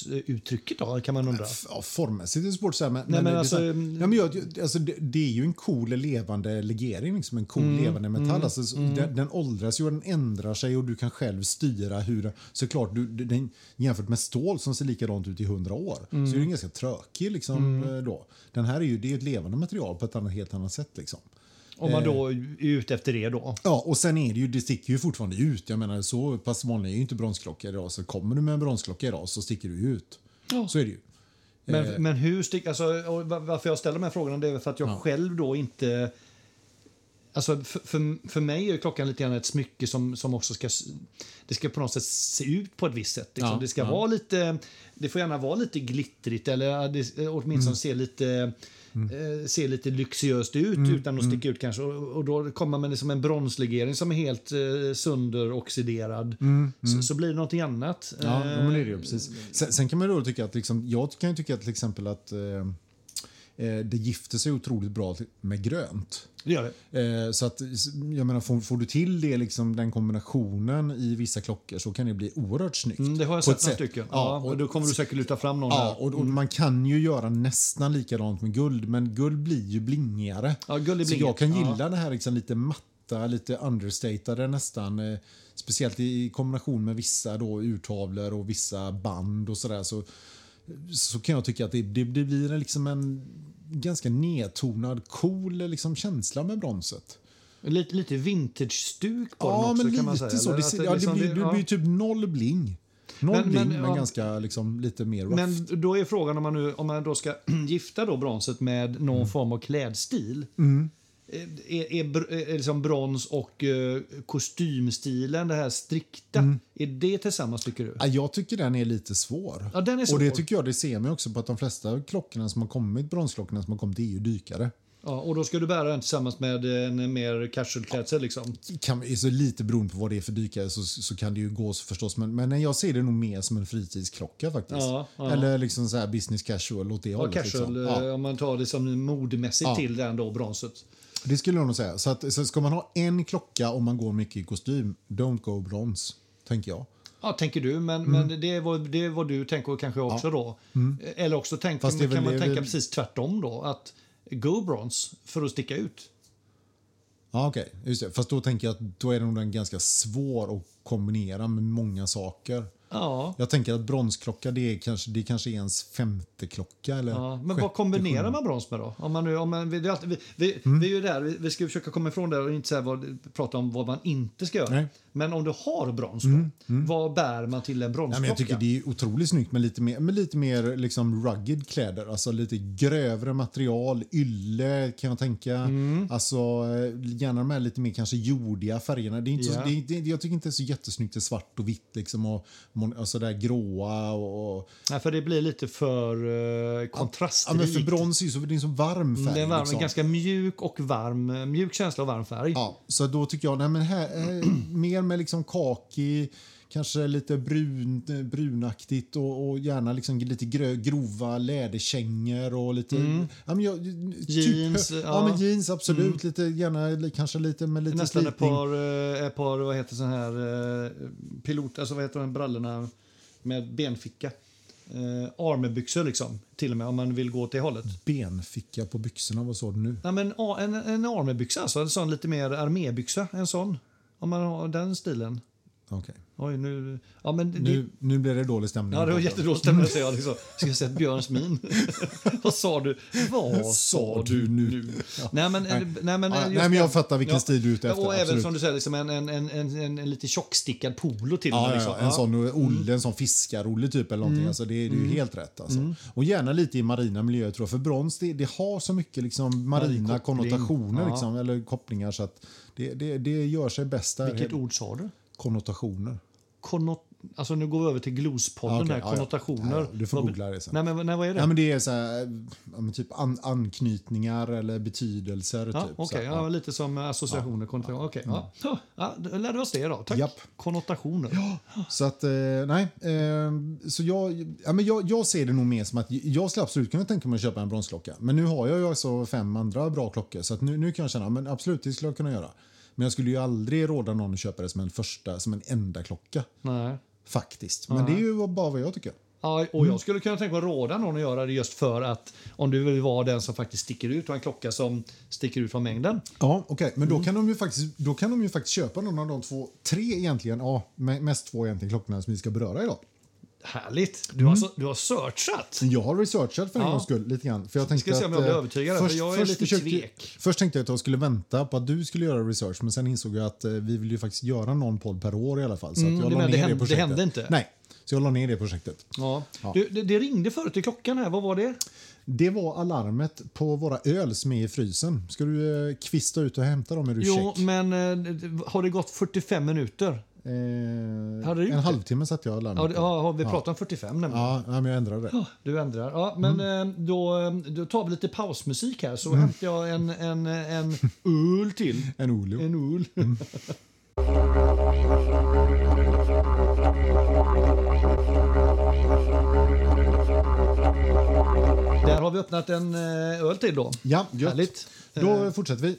[SPEAKER 1] bronsuttrycket då, kan man undra?
[SPEAKER 2] F- Ja, formmässigt är det svårt att säga. Men,
[SPEAKER 1] men
[SPEAKER 2] men, det, är
[SPEAKER 1] alltså,
[SPEAKER 2] så här- ja, men jag, jag- alltså, det, det är ju en cool levande legering, liksom, en cool levande metall. Alltså, så- den, den åldras ju och den ändrar sig och du kan själv styra hur den... Såklart, du, du- den, jämfört med stål som ser likadant ut i hundra år så är den ganska trökig. Liksom, eh, då. Den här är ju det är ju ett levande material på ett annat, helt annat sätt. Liksom.
[SPEAKER 1] Om man då är ute efter det då.
[SPEAKER 2] Ja, och sen är det ju, det sticker ju fortfarande ut. Jag menar, så pass vanlig är ju inte bronsklockor idag. Så kommer du med en bronsklocka idag så sticker du ju ut.
[SPEAKER 1] Ja.
[SPEAKER 2] Så är det ju.
[SPEAKER 1] Men,
[SPEAKER 2] Eh.
[SPEAKER 1] men hur stick, alltså, och va- varför jag ställer de här frågorna det är väl för att jag själv då inte Alltså för, för, för mig är klockan lite grann ett smycke som, som också ska... Det ska på något sätt se ut på ett visst sätt. Liksom.
[SPEAKER 3] Ja,
[SPEAKER 1] det ska
[SPEAKER 3] ja.
[SPEAKER 1] vara lite... Det får gärna vara lite glittrigt eller det, eh, åtminstone
[SPEAKER 2] Mm.
[SPEAKER 1] se lite... eh, Se lite lyxiöst ut
[SPEAKER 2] Mm,
[SPEAKER 1] utan att sticka ut kanske. Och, och då kommer man liksom en bronslegering som är helt eh, sönderoxiderad. Så, så blir det någonting annat.
[SPEAKER 2] Mm, Ja,
[SPEAKER 1] Eh,
[SPEAKER 2] men det är det ju. Precis. Sen, sen kan man då tycka att liksom, jag kan ju tycka att till exempel att eh, eh, det gifter sig otroligt bra till- med grönt.
[SPEAKER 1] det gör det.
[SPEAKER 2] Eh, så att, s- jag menar, får, får du till det, liksom, den kombinationen i vissa klockor så kan det bli oerhört snyggt.
[SPEAKER 1] Mm, det har jag
[SPEAKER 2] På
[SPEAKER 1] sett
[SPEAKER 2] ett
[SPEAKER 1] några
[SPEAKER 2] sätt.
[SPEAKER 1] stycken. Ja,
[SPEAKER 2] Ja,
[SPEAKER 1] och då kommer mm. du säkert luta fram någon
[SPEAKER 2] Ja,
[SPEAKER 1] där.
[SPEAKER 2] och, och man kan ju göra nästan likadant med guld, men guld blir ju blingigare.
[SPEAKER 1] Ja, guld är
[SPEAKER 2] så
[SPEAKER 1] blingigt,
[SPEAKER 2] jag kan
[SPEAKER 1] ja.
[SPEAKER 2] gilla det här liksom lite matta, lite understatade nästan. eh, Speciellt i kombination med vissa då urtavlor och vissa band och sådär. Så, så kan jag tycka att det, det, det blir en liksom en ganska nedtonad, cool liksom känsla med bronset.
[SPEAKER 1] Lite, lite vintage-stuk på
[SPEAKER 2] Ja,
[SPEAKER 1] den också
[SPEAKER 2] men lite
[SPEAKER 1] kan man säga.
[SPEAKER 2] så.
[SPEAKER 1] eller?
[SPEAKER 2] Det,
[SPEAKER 1] Att
[SPEAKER 2] ser- ja, det,
[SPEAKER 1] liksom-
[SPEAKER 2] blir, det
[SPEAKER 1] ja.
[SPEAKER 2] blir typ noll bling. Noll
[SPEAKER 1] Men-
[SPEAKER 2] bling,
[SPEAKER 1] men,
[SPEAKER 2] men,
[SPEAKER 1] ja.
[SPEAKER 2] ganska liksom, lite mer rough.
[SPEAKER 1] Men då är frågan om man, nu, om man då ska gifta då bronset med någon
[SPEAKER 2] Mm.
[SPEAKER 1] form av klädstil. Eh, Är, är, br- är liksom brons och eh, kostymstilen, det här strikta,
[SPEAKER 2] Mm.
[SPEAKER 1] är det tillsammans tycker du?
[SPEAKER 2] Ja, jag tycker den är lite svår.
[SPEAKER 1] Ja, den är
[SPEAKER 2] Och det
[SPEAKER 1] svår.
[SPEAKER 2] tycker jag det ser man ju också på att de flesta klockorna som har kommit, bronsklockorna som har kommit, det är ju dykare.
[SPEAKER 1] Ja, och då ska du bära den tillsammans med en mer casual-klädsel liksom.
[SPEAKER 2] Kan, så lite beroende på vad det är för dykare så, så kan det ju gå så förstås. Men, men jag ser det nog mer som en fritidsklocka faktiskt.
[SPEAKER 1] Ja, ja.
[SPEAKER 2] Eller liksom så här business casual åt det
[SPEAKER 1] Ja,
[SPEAKER 2] hållet.
[SPEAKER 1] casual,
[SPEAKER 2] liksom.
[SPEAKER 1] eh,
[SPEAKER 2] ja,
[SPEAKER 1] om man tar det som modemässigt
[SPEAKER 2] Ja.
[SPEAKER 1] till den då, bronset.
[SPEAKER 2] det skulle jag nog säga. Så, att, så ska man ha en klocka om man går mycket i kostym, don't go brons, tänker jag.
[SPEAKER 1] Ja, tänker du, men,
[SPEAKER 2] Mm.
[SPEAKER 1] men det, är vad, det är vad du tänker och kanske jag också då. Eh, Eller också tänk,
[SPEAKER 2] Fast det är väl
[SPEAKER 1] kan man
[SPEAKER 2] det vi-
[SPEAKER 1] tänka precis tvärtom då, att go brons för att sticka ut.
[SPEAKER 2] Ja, okej. Just det. Fast då tänker jag att då är den nog den ganska svår att kombinera med många saker.
[SPEAKER 1] Ja.
[SPEAKER 2] Jag tänker att bronsklocka det är kanske, det kanske är ens femte klocka. Eller
[SPEAKER 1] Ja, men
[SPEAKER 2] sjätte,
[SPEAKER 1] vad kombinerar
[SPEAKER 2] sjunde.
[SPEAKER 1] man brons med då? Om man nu, om man, vi, det är alltid- vi, vi,
[SPEAKER 2] Mm.
[SPEAKER 1] vi är ju där, vi, vi ska ju försöka komma ifrån det och inte säga vad, prata om vad man inte ska göra.
[SPEAKER 2] Nej.
[SPEAKER 1] Men om du har brons, då, vad bär man till en
[SPEAKER 2] Nej, men
[SPEAKER 1] bronsklocka?
[SPEAKER 2] jag tycker det är otroligt snyggt med lite mer, med lite mer liksom rugged kläder. Alltså lite grövre material, ylle kan jag tänka.
[SPEAKER 1] Mm.
[SPEAKER 2] Alltså eh, gärna de här lite mer kanske jordiga färgerna. Det är inte
[SPEAKER 1] Ja.
[SPEAKER 2] så, det, det, jag tycker inte det är så jättesnyggt det är svart och vitt liksom och, mon- alltså där gråa och, och
[SPEAKER 1] Nej, för det blir lite för uh,
[SPEAKER 2] Ja, men
[SPEAKER 1] kontrastrikt.
[SPEAKER 2] för brons är ju så, det är en så varm färg.
[SPEAKER 1] Mm, det är en varm,
[SPEAKER 2] liksom.
[SPEAKER 1] ganska mjuk och varm, eh, mjuk känsla och varm färg.
[SPEAKER 2] Ja, så då tycker jag nej, men här, eh, mer med liksom kaki, kanske lite brun, eh, brunaktigt och, och gärna liksom lite grö, grova läderkängor och lite... Ja, men jag,
[SPEAKER 1] Mm. Jeans,
[SPEAKER 2] Typ, ja.
[SPEAKER 1] ja. Mm.
[SPEAKER 2] men jeans absolut. Lite, gärna li- kanske lite med lite
[SPEAKER 1] Nästan ett
[SPEAKER 2] slipning.
[SPEAKER 1] par, eh, ett par, vad heter sån här, eh, pilot, alltså vad heter de här brallorna med benficka? Uh, armebyxor liksom, till och med om man vill gå åt det hållet.
[SPEAKER 2] Benficka på byxorna, vad sa du nu?
[SPEAKER 1] Ja, men a- en, en armébyxa, alltså. En sån lite mer armébyxa. En sån. Om man har den stilen.
[SPEAKER 2] Okej.
[SPEAKER 1] Oj, nu... Ja, men det,
[SPEAKER 2] Nu, nu blir det dålig stämning.
[SPEAKER 1] ja, det var jättedåligt stämning, säger jag. Liksom. Ska jag säga ett Björns min? Vad sa du? Vad sa du nu? Nej, men... Nej, nej, men,
[SPEAKER 2] Ja,
[SPEAKER 1] just
[SPEAKER 2] nej, men
[SPEAKER 1] det.
[SPEAKER 2] jag fattar vilken stil du är ute efter.
[SPEAKER 1] Och även
[SPEAKER 2] absolut.
[SPEAKER 1] som du säger, liksom en, en, en, en, en, en lite tjockstickad polo till och
[SPEAKER 2] Ja,
[SPEAKER 1] med,
[SPEAKER 2] ja,
[SPEAKER 1] liksom. Mm.
[SPEAKER 2] ja, en sån olle, en sån fiskarolle typ eller någonting. Alltså, det är det är ju helt rätt. Alltså. Och gärna lite i marina miljöer tror jag. För brons det, det har så mycket liksom, marina
[SPEAKER 1] Marin koppling.
[SPEAKER 2] konnotationer
[SPEAKER 1] Ja.
[SPEAKER 2] liksom, eller kopplingar så att det, det, det gör sig bäst där. eh,
[SPEAKER 1] Vilket ord sa du?
[SPEAKER 2] Konnotationer.
[SPEAKER 1] Konnot... Alltså nu går vi över till glospodden
[SPEAKER 2] Ja, okej,
[SPEAKER 1] här,
[SPEAKER 2] ja, ja.
[SPEAKER 1] konnotationer.
[SPEAKER 2] Ja, ja, du får
[SPEAKER 1] Vad-
[SPEAKER 2] googla det sen.
[SPEAKER 1] Nej, men nej, vad är det?
[SPEAKER 2] Ja, men det är så här, ja, men typ an, anknytningar eller betydelser.
[SPEAKER 1] Ja,
[SPEAKER 2] typ, så
[SPEAKER 1] okej.
[SPEAKER 2] här.
[SPEAKER 1] ja. Lite som eh, associationer. kontra. Okej, ja. Ja. då lärde vi oss det. Då. Tack.
[SPEAKER 2] Mm. Japp.
[SPEAKER 1] Konnotationer.
[SPEAKER 2] Så att, eh, nej. Eh, så jag, ja, men jag, jag ser det nog mer som att jag skulle absolut kunna tänka mig att köpa en bronsklocka. Men nu har jag ju alltså fem andra bra klockor så att nu, nu kan jag känna, men absolut det skulle jag kunna göra. Men jag skulle ju aldrig råda någon att köpa det som en första, som en enda klocka.
[SPEAKER 1] Nej.
[SPEAKER 2] Faktiskt. Men det är ju bara vad jag tycker.
[SPEAKER 1] Ja, och
[SPEAKER 2] Mm.
[SPEAKER 1] jag skulle kunna tänka mig att råda någon att göra det just för att om du vill vara den som faktiskt sticker ut och en klocka som sticker ut från mängden.
[SPEAKER 2] Ja, okej. Men då kan, de ju faktiskt, då kan de ju faktiskt köpa någon av de två, tre egentligen, ja, me- mest två egentligen klockorna som vi ska beröra idag.
[SPEAKER 1] Härligt! Du, har,
[SPEAKER 2] Mm.
[SPEAKER 1] alltså, du har searchat.
[SPEAKER 2] Jag har researchat för en
[SPEAKER 1] Ja.
[SPEAKER 2] gångs skull. Lite grann, för jag tänkte
[SPEAKER 1] se om jag
[SPEAKER 2] att,
[SPEAKER 1] blir
[SPEAKER 2] eh,
[SPEAKER 1] övertygad, för jag är lite tvek.
[SPEAKER 2] Först tänkte jag att jag skulle vänta på att du skulle göra research men sen insåg jag att eh, vi vill ju faktiskt göra någon podd per år i alla fall. Så
[SPEAKER 1] Mm,
[SPEAKER 2] att jag
[SPEAKER 1] du
[SPEAKER 2] la
[SPEAKER 1] menar,
[SPEAKER 2] ner
[SPEAKER 1] det
[SPEAKER 2] det,
[SPEAKER 1] hände- det
[SPEAKER 2] projektet.
[SPEAKER 1] hände inte?
[SPEAKER 2] Nej, så jag la ner det projektet.
[SPEAKER 1] Ja.
[SPEAKER 2] Ja.
[SPEAKER 1] Du, det, det ringde förut i klockan här. Vad var det?
[SPEAKER 2] Det var alarmet på våra öl som är i frysen. Ska du eh, kvista ut och hämta dem? Är du
[SPEAKER 1] Jo,
[SPEAKER 2] check?
[SPEAKER 1] men eh, har det gått 45 minuter?
[SPEAKER 2] Eh,
[SPEAKER 1] Hade du gjort
[SPEAKER 2] en
[SPEAKER 1] det?
[SPEAKER 2] halvtimme satte jag alarmet
[SPEAKER 1] Ja, det-
[SPEAKER 2] på.
[SPEAKER 1] ja, vi pratar om 45 nämligen.
[SPEAKER 2] Ja, ja, Mm. men jag ändrade det.
[SPEAKER 1] Du ändrar. Ja, men eh, då, eh, då tar vi lite pausmusik här
[SPEAKER 2] Mm.
[SPEAKER 1] så hämtar jag en, en, en öl till.
[SPEAKER 2] En Olio.
[SPEAKER 1] En öl.
[SPEAKER 2] Mm.
[SPEAKER 1] Där har vi öppnat en eh, öl till då.
[SPEAKER 2] Ja, gött.
[SPEAKER 1] Härligt. Eh.
[SPEAKER 2] Då fortsätter vi.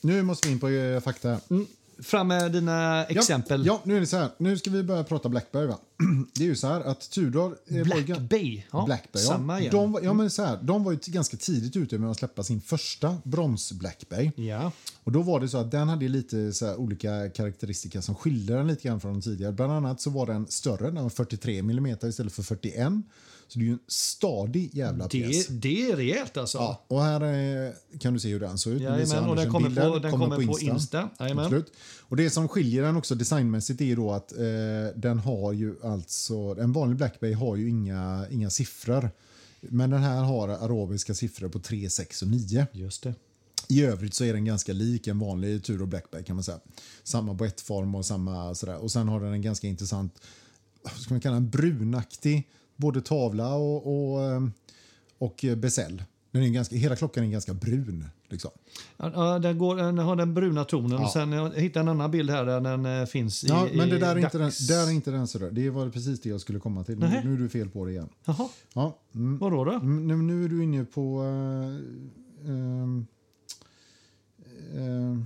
[SPEAKER 2] Nu måste vi in på eh, fakta. här.
[SPEAKER 1] Mm. Fram med dina
[SPEAKER 2] Ja,
[SPEAKER 1] exempel.
[SPEAKER 2] Ja, nu är det så här. Nu ska vi börja prata Blackberry. Va? Det är ju så här att Tudor... eh, var ju
[SPEAKER 1] Black
[SPEAKER 2] gan-
[SPEAKER 1] Bay. Ja,
[SPEAKER 2] Blackberry,
[SPEAKER 1] Samma
[SPEAKER 2] ja.
[SPEAKER 1] igen.
[SPEAKER 2] De, var- ja, men så här, de var ju t- ganska tidigt ute med att släppa sin första broms-Blackberry.
[SPEAKER 1] Ja.
[SPEAKER 2] Och då var det så att den hade ju lite så här olika karaktäristika som skilde den lite grann från de tidigare. Bland annat så var den större, den var 43 mm istället för 41. Så det är ju en stadig jävla pjäs.
[SPEAKER 1] Det, det är rejält alltså.
[SPEAKER 2] Ja, och här eh, kan du se hur den såg ut. Nu visar
[SPEAKER 1] Jajamän, och
[SPEAKER 2] Anders
[SPEAKER 1] den
[SPEAKER 2] en
[SPEAKER 1] kommer
[SPEAKER 2] bild
[SPEAKER 1] på,
[SPEAKER 2] här.
[SPEAKER 1] den kommer på Insta. Jajamän.
[SPEAKER 2] Absolut. Och det som skiljer den också designmässigt är ju då att eh, den har ju alltså, en vanlig Blackberry har ju inga, inga siffror. Men den här har arabiska siffror på 3, 6 och 9.
[SPEAKER 1] Just det.
[SPEAKER 2] I övrigt så är den ganska lik en vanlig Tudor Blackberry kan man säga. Samma boettform och samma sådär. Och sen har den en ganska intressant, vad ska man kalla den, brunaktig både tavla och, och, eh, och besäll. Den är ju ganska, hela klockan är ganska brun. Liksom.
[SPEAKER 1] Ja, Ja, den, går, eh, den har den bruna tonen.
[SPEAKER 2] Ja.
[SPEAKER 1] Sen eh, jag hittade en annan bild här där den eh, finns i
[SPEAKER 2] Ja, men det
[SPEAKER 1] i
[SPEAKER 2] där är, inte den,
[SPEAKER 1] dags-
[SPEAKER 2] där är inte den sådär. Det var precis det jag skulle komma till. Nu,
[SPEAKER 1] Nähä.
[SPEAKER 2] nu är du fel på det igen.
[SPEAKER 1] Jaha,
[SPEAKER 2] Ja, mm,
[SPEAKER 1] vadå då?
[SPEAKER 2] Mm, nu, nu är du inne på... eh, ehm, eh,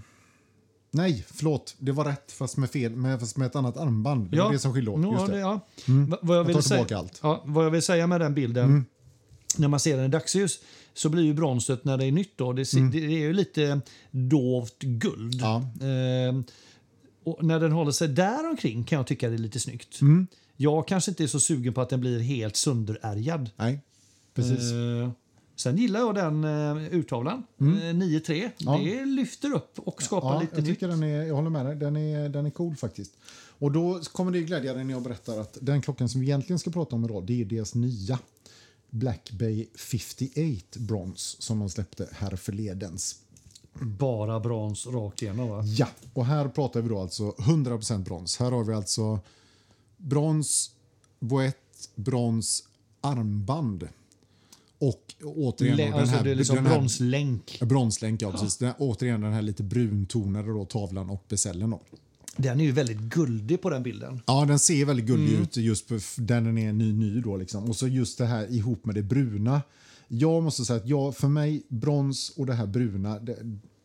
[SPEAKER 2] nej, förlåt. Det var rätt, fast med, fel, med, fast med ett annat armband. Det var
[SPEAKER 1] Ja.
[SPEAKER 2] det som skilde åt.
[SPEAKER 1] Ja,
[SPEAKER 2] Just det. Mm.
[SPEAKER 1] Ja. Va- Vad, jag
[SPEAKER 2] Jag
[SPEAKER 1] vill
[SPEAKER 2] tar
[SPEAKER 1] säga,
[SPEAKER 2] tillbaka Mm. allt.
[SPEAKER 1] ja, vad jag vill säga med den bilden, när man ser den i dagsljus, så blir ju bronset när det är nytt. Då, det, ser- det är ju lite dovt guld.
[SPEAKER 2] Mm. Ja.
[SPEAKER 1] Ehm, och när den håller sig där omkring kan jag tycka det är lite snyggt.
[SPEAKER 2] Mm.
[SPEAKER 1] Jag kanske inte är så sugen på att den blir helt sönderärgad.
[SPEAKER 2] Nej, precis.
[SPEAKER 1] Eh, sen gillar jag den eh, urtavlan, eh, 9-3.
[SPEAKER 2] Mm. Ja.
[SPEAKER 1] Det lyfter upp och skapar
[SPEAKER 2] Ja,
[SPEAKER 1] lite
[SPEAKER 2] jag,
[SPEAKER 1] nytt.
[SPEAKER 2] tycker den är, jag håller med dig. Den är, den är cool faktiskt. Och då kommer det glädja dig när jag berättar att den klockan som vi egentligen ska prata om idag, det är deras nya Black Bay 58 Bronze som de släppte här förledens.
[SPEAKER 1] Bara brons rakt igenom. Va?
[SPEAKER 2] Ja, och här pratar vi då alltså 100% brons. Här har vi alltså brons, boett, brons, armband och återigen
[SPEAKER 1] Lä-
[SPEAKER 2] då den
[SPEAKER 1] alltså,
[SPEAKER 2] här,
[SPEAKER 1] det är liksom
[SPEAKER 2] den här
[SPEAKER 1] bronslänk.
[SPEAKER 2] bronslänk. Ja, precis. Den, återigen den här lite bruntonade då, tavlan och besällen. Då.
[SPEAKER 1] Den är ju väldigt guldig på den bilden.
[SPEAKER 2] Ja, den ser väldigt gullig
[SPEAKER 1] Mm.
[SPEAKER 2] ut just på f- där den är ny, ny då liksom. Och så just det här ihop med det bruna. Jag måste säga att jag, för mig, brons och det här bruna, det,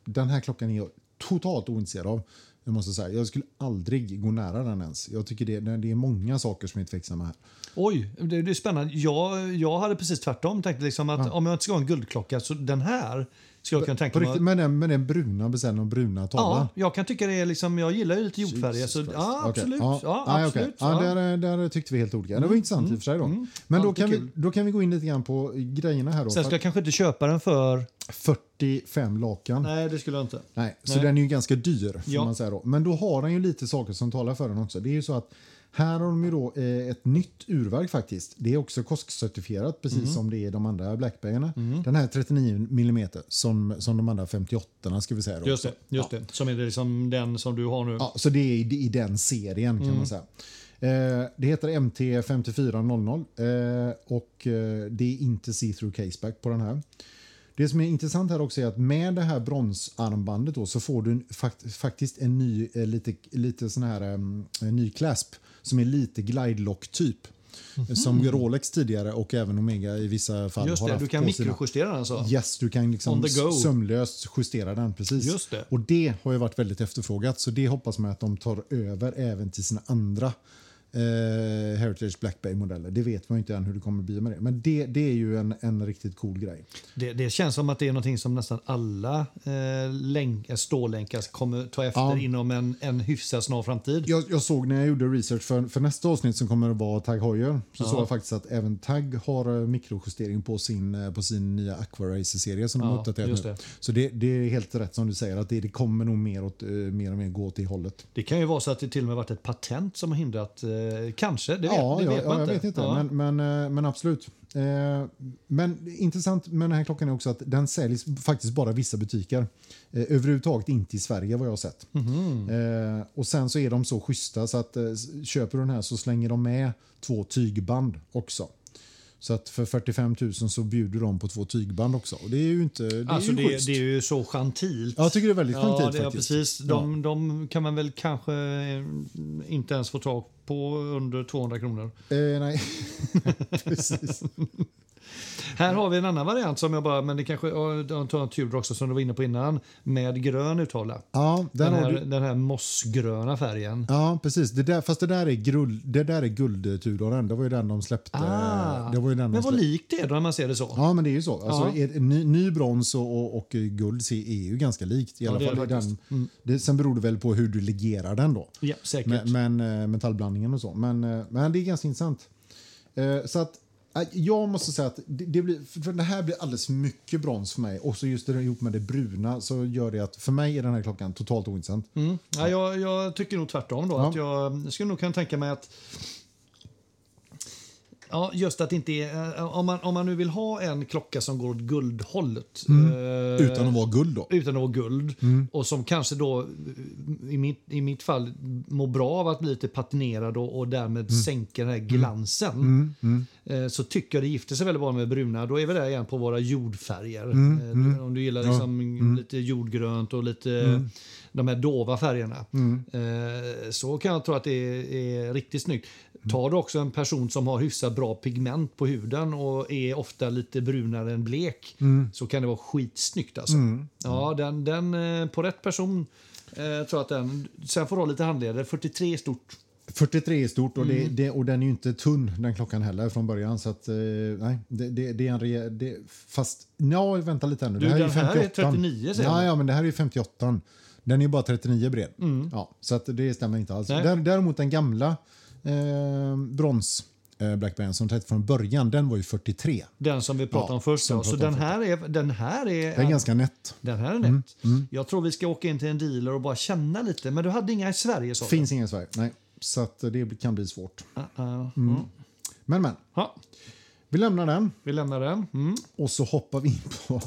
[SPEAKER 2] den här klockan är jag totalt ointresserad av. Jag måste säga, jag skulle aldrig gå nära den ens. Jag tycker det, det är många saker som är tveksamma här.
[SPEAKER 1] Oj, det, det är spännande. Jag, jag hade precis tvärtom. Tänkte liksom att om jag inte ska ha en guldklocka så den här ska jag kunna tänka
[SPEAKER 2] På
[SPEAKER 1] mig.
[SPEAKER 2] riktigt, med, den, med den bruna beställningen och bruna tavlan.
[SPEAKER 1] Ja, jag kan tycka det är liksom, jag gillar ju lite jordfärger. Så,
[SPEAKER 2] Christ.
[SPEAKER 1] ja,
[SPEAKER 2] Okej.
[SPEAKER 1] absolut.
[SPEAKER 2] Ja.
[SPEAKER 1] Ja,
[SPEAKER 2] Nej, okej.
[SPEAKER 1] absolut.
[SPEAKER 2] Ja,
[SPEAKER 1] Ja. Mm,
[SPEAKER 2] Där, där tyckte vi helt olika. Det var intressant i och för sig. Då. Men då
[SPEAKER 1] Alltid
[SPEAKER 2] kan, vi,
[SPEAKER 1] kul.
[SPEAKER 2] då kan vi gå in lite grann på grejerna här. Då,
[SPEAKER 1] Sen ska jag kanske inte köpa den för...
[SPEAKER 2] 45 lakan.
[SPEAKER 1] Nej, det skulle jag inte.
[SPEAKER 2] Nej, så
[SPEAKER 1] Nej.
[SPEAKER 2] den är ju ganska dyr. Får
[SPEAKER 1] Ja.
[SPEAKER 2] man säga då. Men då har den ju lite saker som talar för den också. Det är ju så att här har de ju då eh, ett nytt urverk faktiskt. Det är också KOSK-certifierat precis
[SPEAKER 1] Mhm.
[SPEAKER 2] som det är de andra Blackberryarna. Den här är 39 mm som, som de andra 58 ska vi säga. Då
[SPEAKER 1] Just
[SPEAKER 2] också.
[SPEAKER 1] det, just det. Som är det liksom den som du Mm. har nu.
[SPEAKER 2] Ja, så det är i, i den serien kan man säga. Eh, det heter MT5400 eh, och eh, det är inte see-through caseback på den här. Det som är intressant här också är att med det här bronsarmbandet då så får du en, fakt, faktiskt en ny, eh, lite, lite sån här, em, en ny clasp som är lite glidelock-typ. Som Rolex tidigare och även Omega i vissa fall
[SPEAKER 1] Mhm. Just
[SPEAKER 2] har
[SPEAKER 1] det,
[SPEAKER 2] haft
[SPEAKER 1] du kan
[SPEAKER 2] på sina-
[SPEAKER 1] mikrojustera den alltså.
[SPEAKER 2] Yes, du kan
[SPEAKER 1] On
[SPEAKER 2] liksom
[SPEAKER 1] the go.
[SPEAKER 2] sömlöst justera den. precis.
[SPEAKER 1] Just det.
[SPEAKER 2] Och det har ju varit väldigt efterfrågat, så det hoppas man att de tar över även till sina andra eh, Heritage Black Bay-modeller. Det vet man ju inte än hur det kommer bli med det. Men det, det är ju en, en riktigt cool grej.
[SPEAKER 1] Det, det känns som att det är någonting som nästan alla eh, länk, eh, stålänkar kommer ta efter
[SPEAKER 2] Ja.
[SPEAKER 1] inom en, en hyfsat snar framtid.
[SPEAKER 2] Jag, jag såg när jag gjorde research för, för nästa avsnitt som kommer att vara Tag Heuer så
[SPEAKER 1] Ja.
[SPEAKER 2] såg jag faktiskt att även Tag har eh, mikrojustering på sin, eh, på sin nya Aqua Racer-serie som de
[SPEAKER 1] Ja,
[SPEAKER 2] har uppdaterat
[SPEAKER 1] just
[SPEAKER 2] nu.
[SPEAKER 1] det.
[SPEAKER 2] Så det, det är helt rätt som du säger att det, det kommer nog mer, åt, eh, mer och mer gå åt det hållet.
[SPEAKER 1] Det kan ju vara så att det till och med varit ett patent som har hindrat. Eh, kanske, det vet,
[SPEAKER 2] ja,
[SPEAKER 1] det
[SPEAKER 2] ja,
[SPEAKER 1] vet
[SPEAKER 2] ja,
[SPEAKER 1] man
[SPEAKER 2] jag
[SPEAKER 1] inte.
[SPEAKER 2] vet inte.
[SPEAKER 1] Ja.
[SPEAKER 2] Men, men, eh, men absolut. Eh, Men intressant med den här klockan är också att den säljs faktiskt bara i vissa butiker. Eh, Överhuvudtaget inte i Sverige vad jag har sett.
[SPEAKER 1] Mhm.
[SPEAKER 2] Eh, Och sen så är de så schyssta så att eh, s- köper du den här så slänger de med två tygband också. Så att för 45 000 så bjuder de på två tygband också. Och det är ju inte... Det är
[SPEAKER 1] alltså,
[SPEAKER 2] ju
[SPEAKER 1] det,
[SPEAKER 2] schysst.
[SPEAKER 1] det är ju så gentilt.
[SPEAKER 2] Ja, jag tycker det är väldigt
[SPEAKER 1] Ja,
[SPEAKER 2] gentilt
[SPEAKER 1] det är
[SPEAKER 2] faktiskt.
[SPEAKER 1] precis. De, de kan man väl kanske eh, inte ens få tag på under 200 kronor.
[SPEAKER 2] Eh, nej, precis.
[SPEAKER 1] Här har vi en annan variant som jag bara, men det kanske, ja, de tar en Tudor också som du var inne på innan, med grön uttavla.
[SPEAKER 2] Ja, där
[SPEAKER 1] Den
[SPEAKER 2] har
[SPEAKER 1] här,
[SPEAKER 2] du...
[SPEAKER 1] den här mossgröna färgen.
[SPEAKER 2] Ja, precis. Det där, fast det där är, grul, det där är guldtudoren. Det var ju den de släppte.
[SPEAKER 1] Ah,
[SPEAKER 2] det var ju den de
[SPEAKER 1] Men vad
[SPEAKER 2] släppte.
[SPEAKER 1] likt det är då när man ser det så.
[SPEAKER 2] Ja, men det är ju så. Alltså,
[SPEAKER 1] Ja.
[SPEAKER 2] är- ny, ny brons och, och, och guld ser- är ju ganska likt. I alla
[SPEAKER 1] det är
[SPEAKER 2] fall i
[SPEAKER 1] det
[SPEAKER 2] den. Det, sen beror det väl på hur du legerar den då.
[SPEAKER 1] Ja, säkert.
[SPEAKER 2] Men, men eh, metallblandningen och så. Men, eh, men det är ganska intressant. Eh, Så att eh, jag måste säga att det, det, blir, för det här blir alldeles för mycket brons för mig. Och så just det där ihop med det bruna så gör det att för mig är den här klockan totalt ointressant.
[SPEAKER 1] Mm. Ja, jag, jag tycker nog tvärtom. Då,
[SPEAKER 2] Ja.
[SPEAKER 1] att jag skulle nog kunna tänka mig att... Ja, just att det inte är, eh, om, man, om man nu vill ha en klocka som går åt guldhållet eh,
[SPEAKER 2] Mm. Utan att vara guld då.
[SPEAKER 1] utan att vara guld och som kanske då eh, i mitt, i mitt fall mår bra av att bli lite patinerad och, och därmed sänker den här glansen eh, så tycker jag det gifter sig väldigt bra med bruna. Då är vi där igen på våra jordfärger.
[SPEAKER 2] Mm,
[SPEAKER 1] Eh, Om du gillar liksom lite jordgrönt och lite
[SPEAKER 2] Mm.
[SPEAKER 1] de här dova färgerna. Eh, Så kan jag tro att det är, är riktigt snyggt.
[SPEAKER 2] Mm.
[SPEAKER 1] Tar du också en person som har hyfsat bra pigment på huden och är ofta lite brunare än blek
[SPEAKER 2] Mm.
[SPEAKER 1] så kan det vara skitsnyggt. Alltså. Ja, den, den, eh, på rätt person eh, tror jag att den... Sen får du ha lite handleder. 43 är stort.
[SPEAKER 2] 43 är stort och,
[SPEAKER 1] Mm.
[SPEAKER 2] det, det, och den är ju inte tunn den klockan heller från början. Så att, eh, nej, det, det, det är en re, det, fast, ja, vänta lite här nu.
[SPEAKER 1] Du,
[SPEAKER 2] det här är
[SPEAKER 1] den
[SPEAKER 2] ju
[SPEAKER 1] här är
[SPEAKER 2] 58.
[SPEAKER 1] 39, säger
[SPEAKER 2] ja,
[SPEAKER 1] man.
[SPEAKER 2] ja, men det här är ju 58. Den är ju bara 39 bred. Ja, så att det stämmer inte alls.
[SPEAKER 1] Mm. Nej.
[SPEAKER 2] Där, däremot den gamla eh, brons eh, Black Band som tänkte från början, den var ju 43.
[SPEAKER 1] Den som vi pratade
[SPEAKER 2] Ja,
[SPEAKER 1] om först.
[SPEAKER 2] som
[SPEAKER 1] ja. Så
[SPEAKER 2] pratade
[SPEAKER 1] den
[SPEAKER 2] om
[SPEAKER 1] här, är, den här är...
[SPEAKER 2] Den är ganska nätt.
[SPEAKER 1] Den här är
[SPEAKER 2] Mm,
[SPEAKER 1] nätt. Jag tror vi ska åka in till en dealer och bara känna lite. Men du hade inga i Sverige sa du?
[SPEAKER 2] Finns ingen i Sverige. Nej, så att det kan bli svårt.
[SPEAKER 1] Ah, ah.
[SPEAKER 2] Mm. Men, men.
[SPEAKER 1] Ja,
[SPEAKER 2] Vi lämnar den.
[SPEAKER 1] vi lämnar den. Mm.
[SPEAKER 2] Och så hoppar vi in på...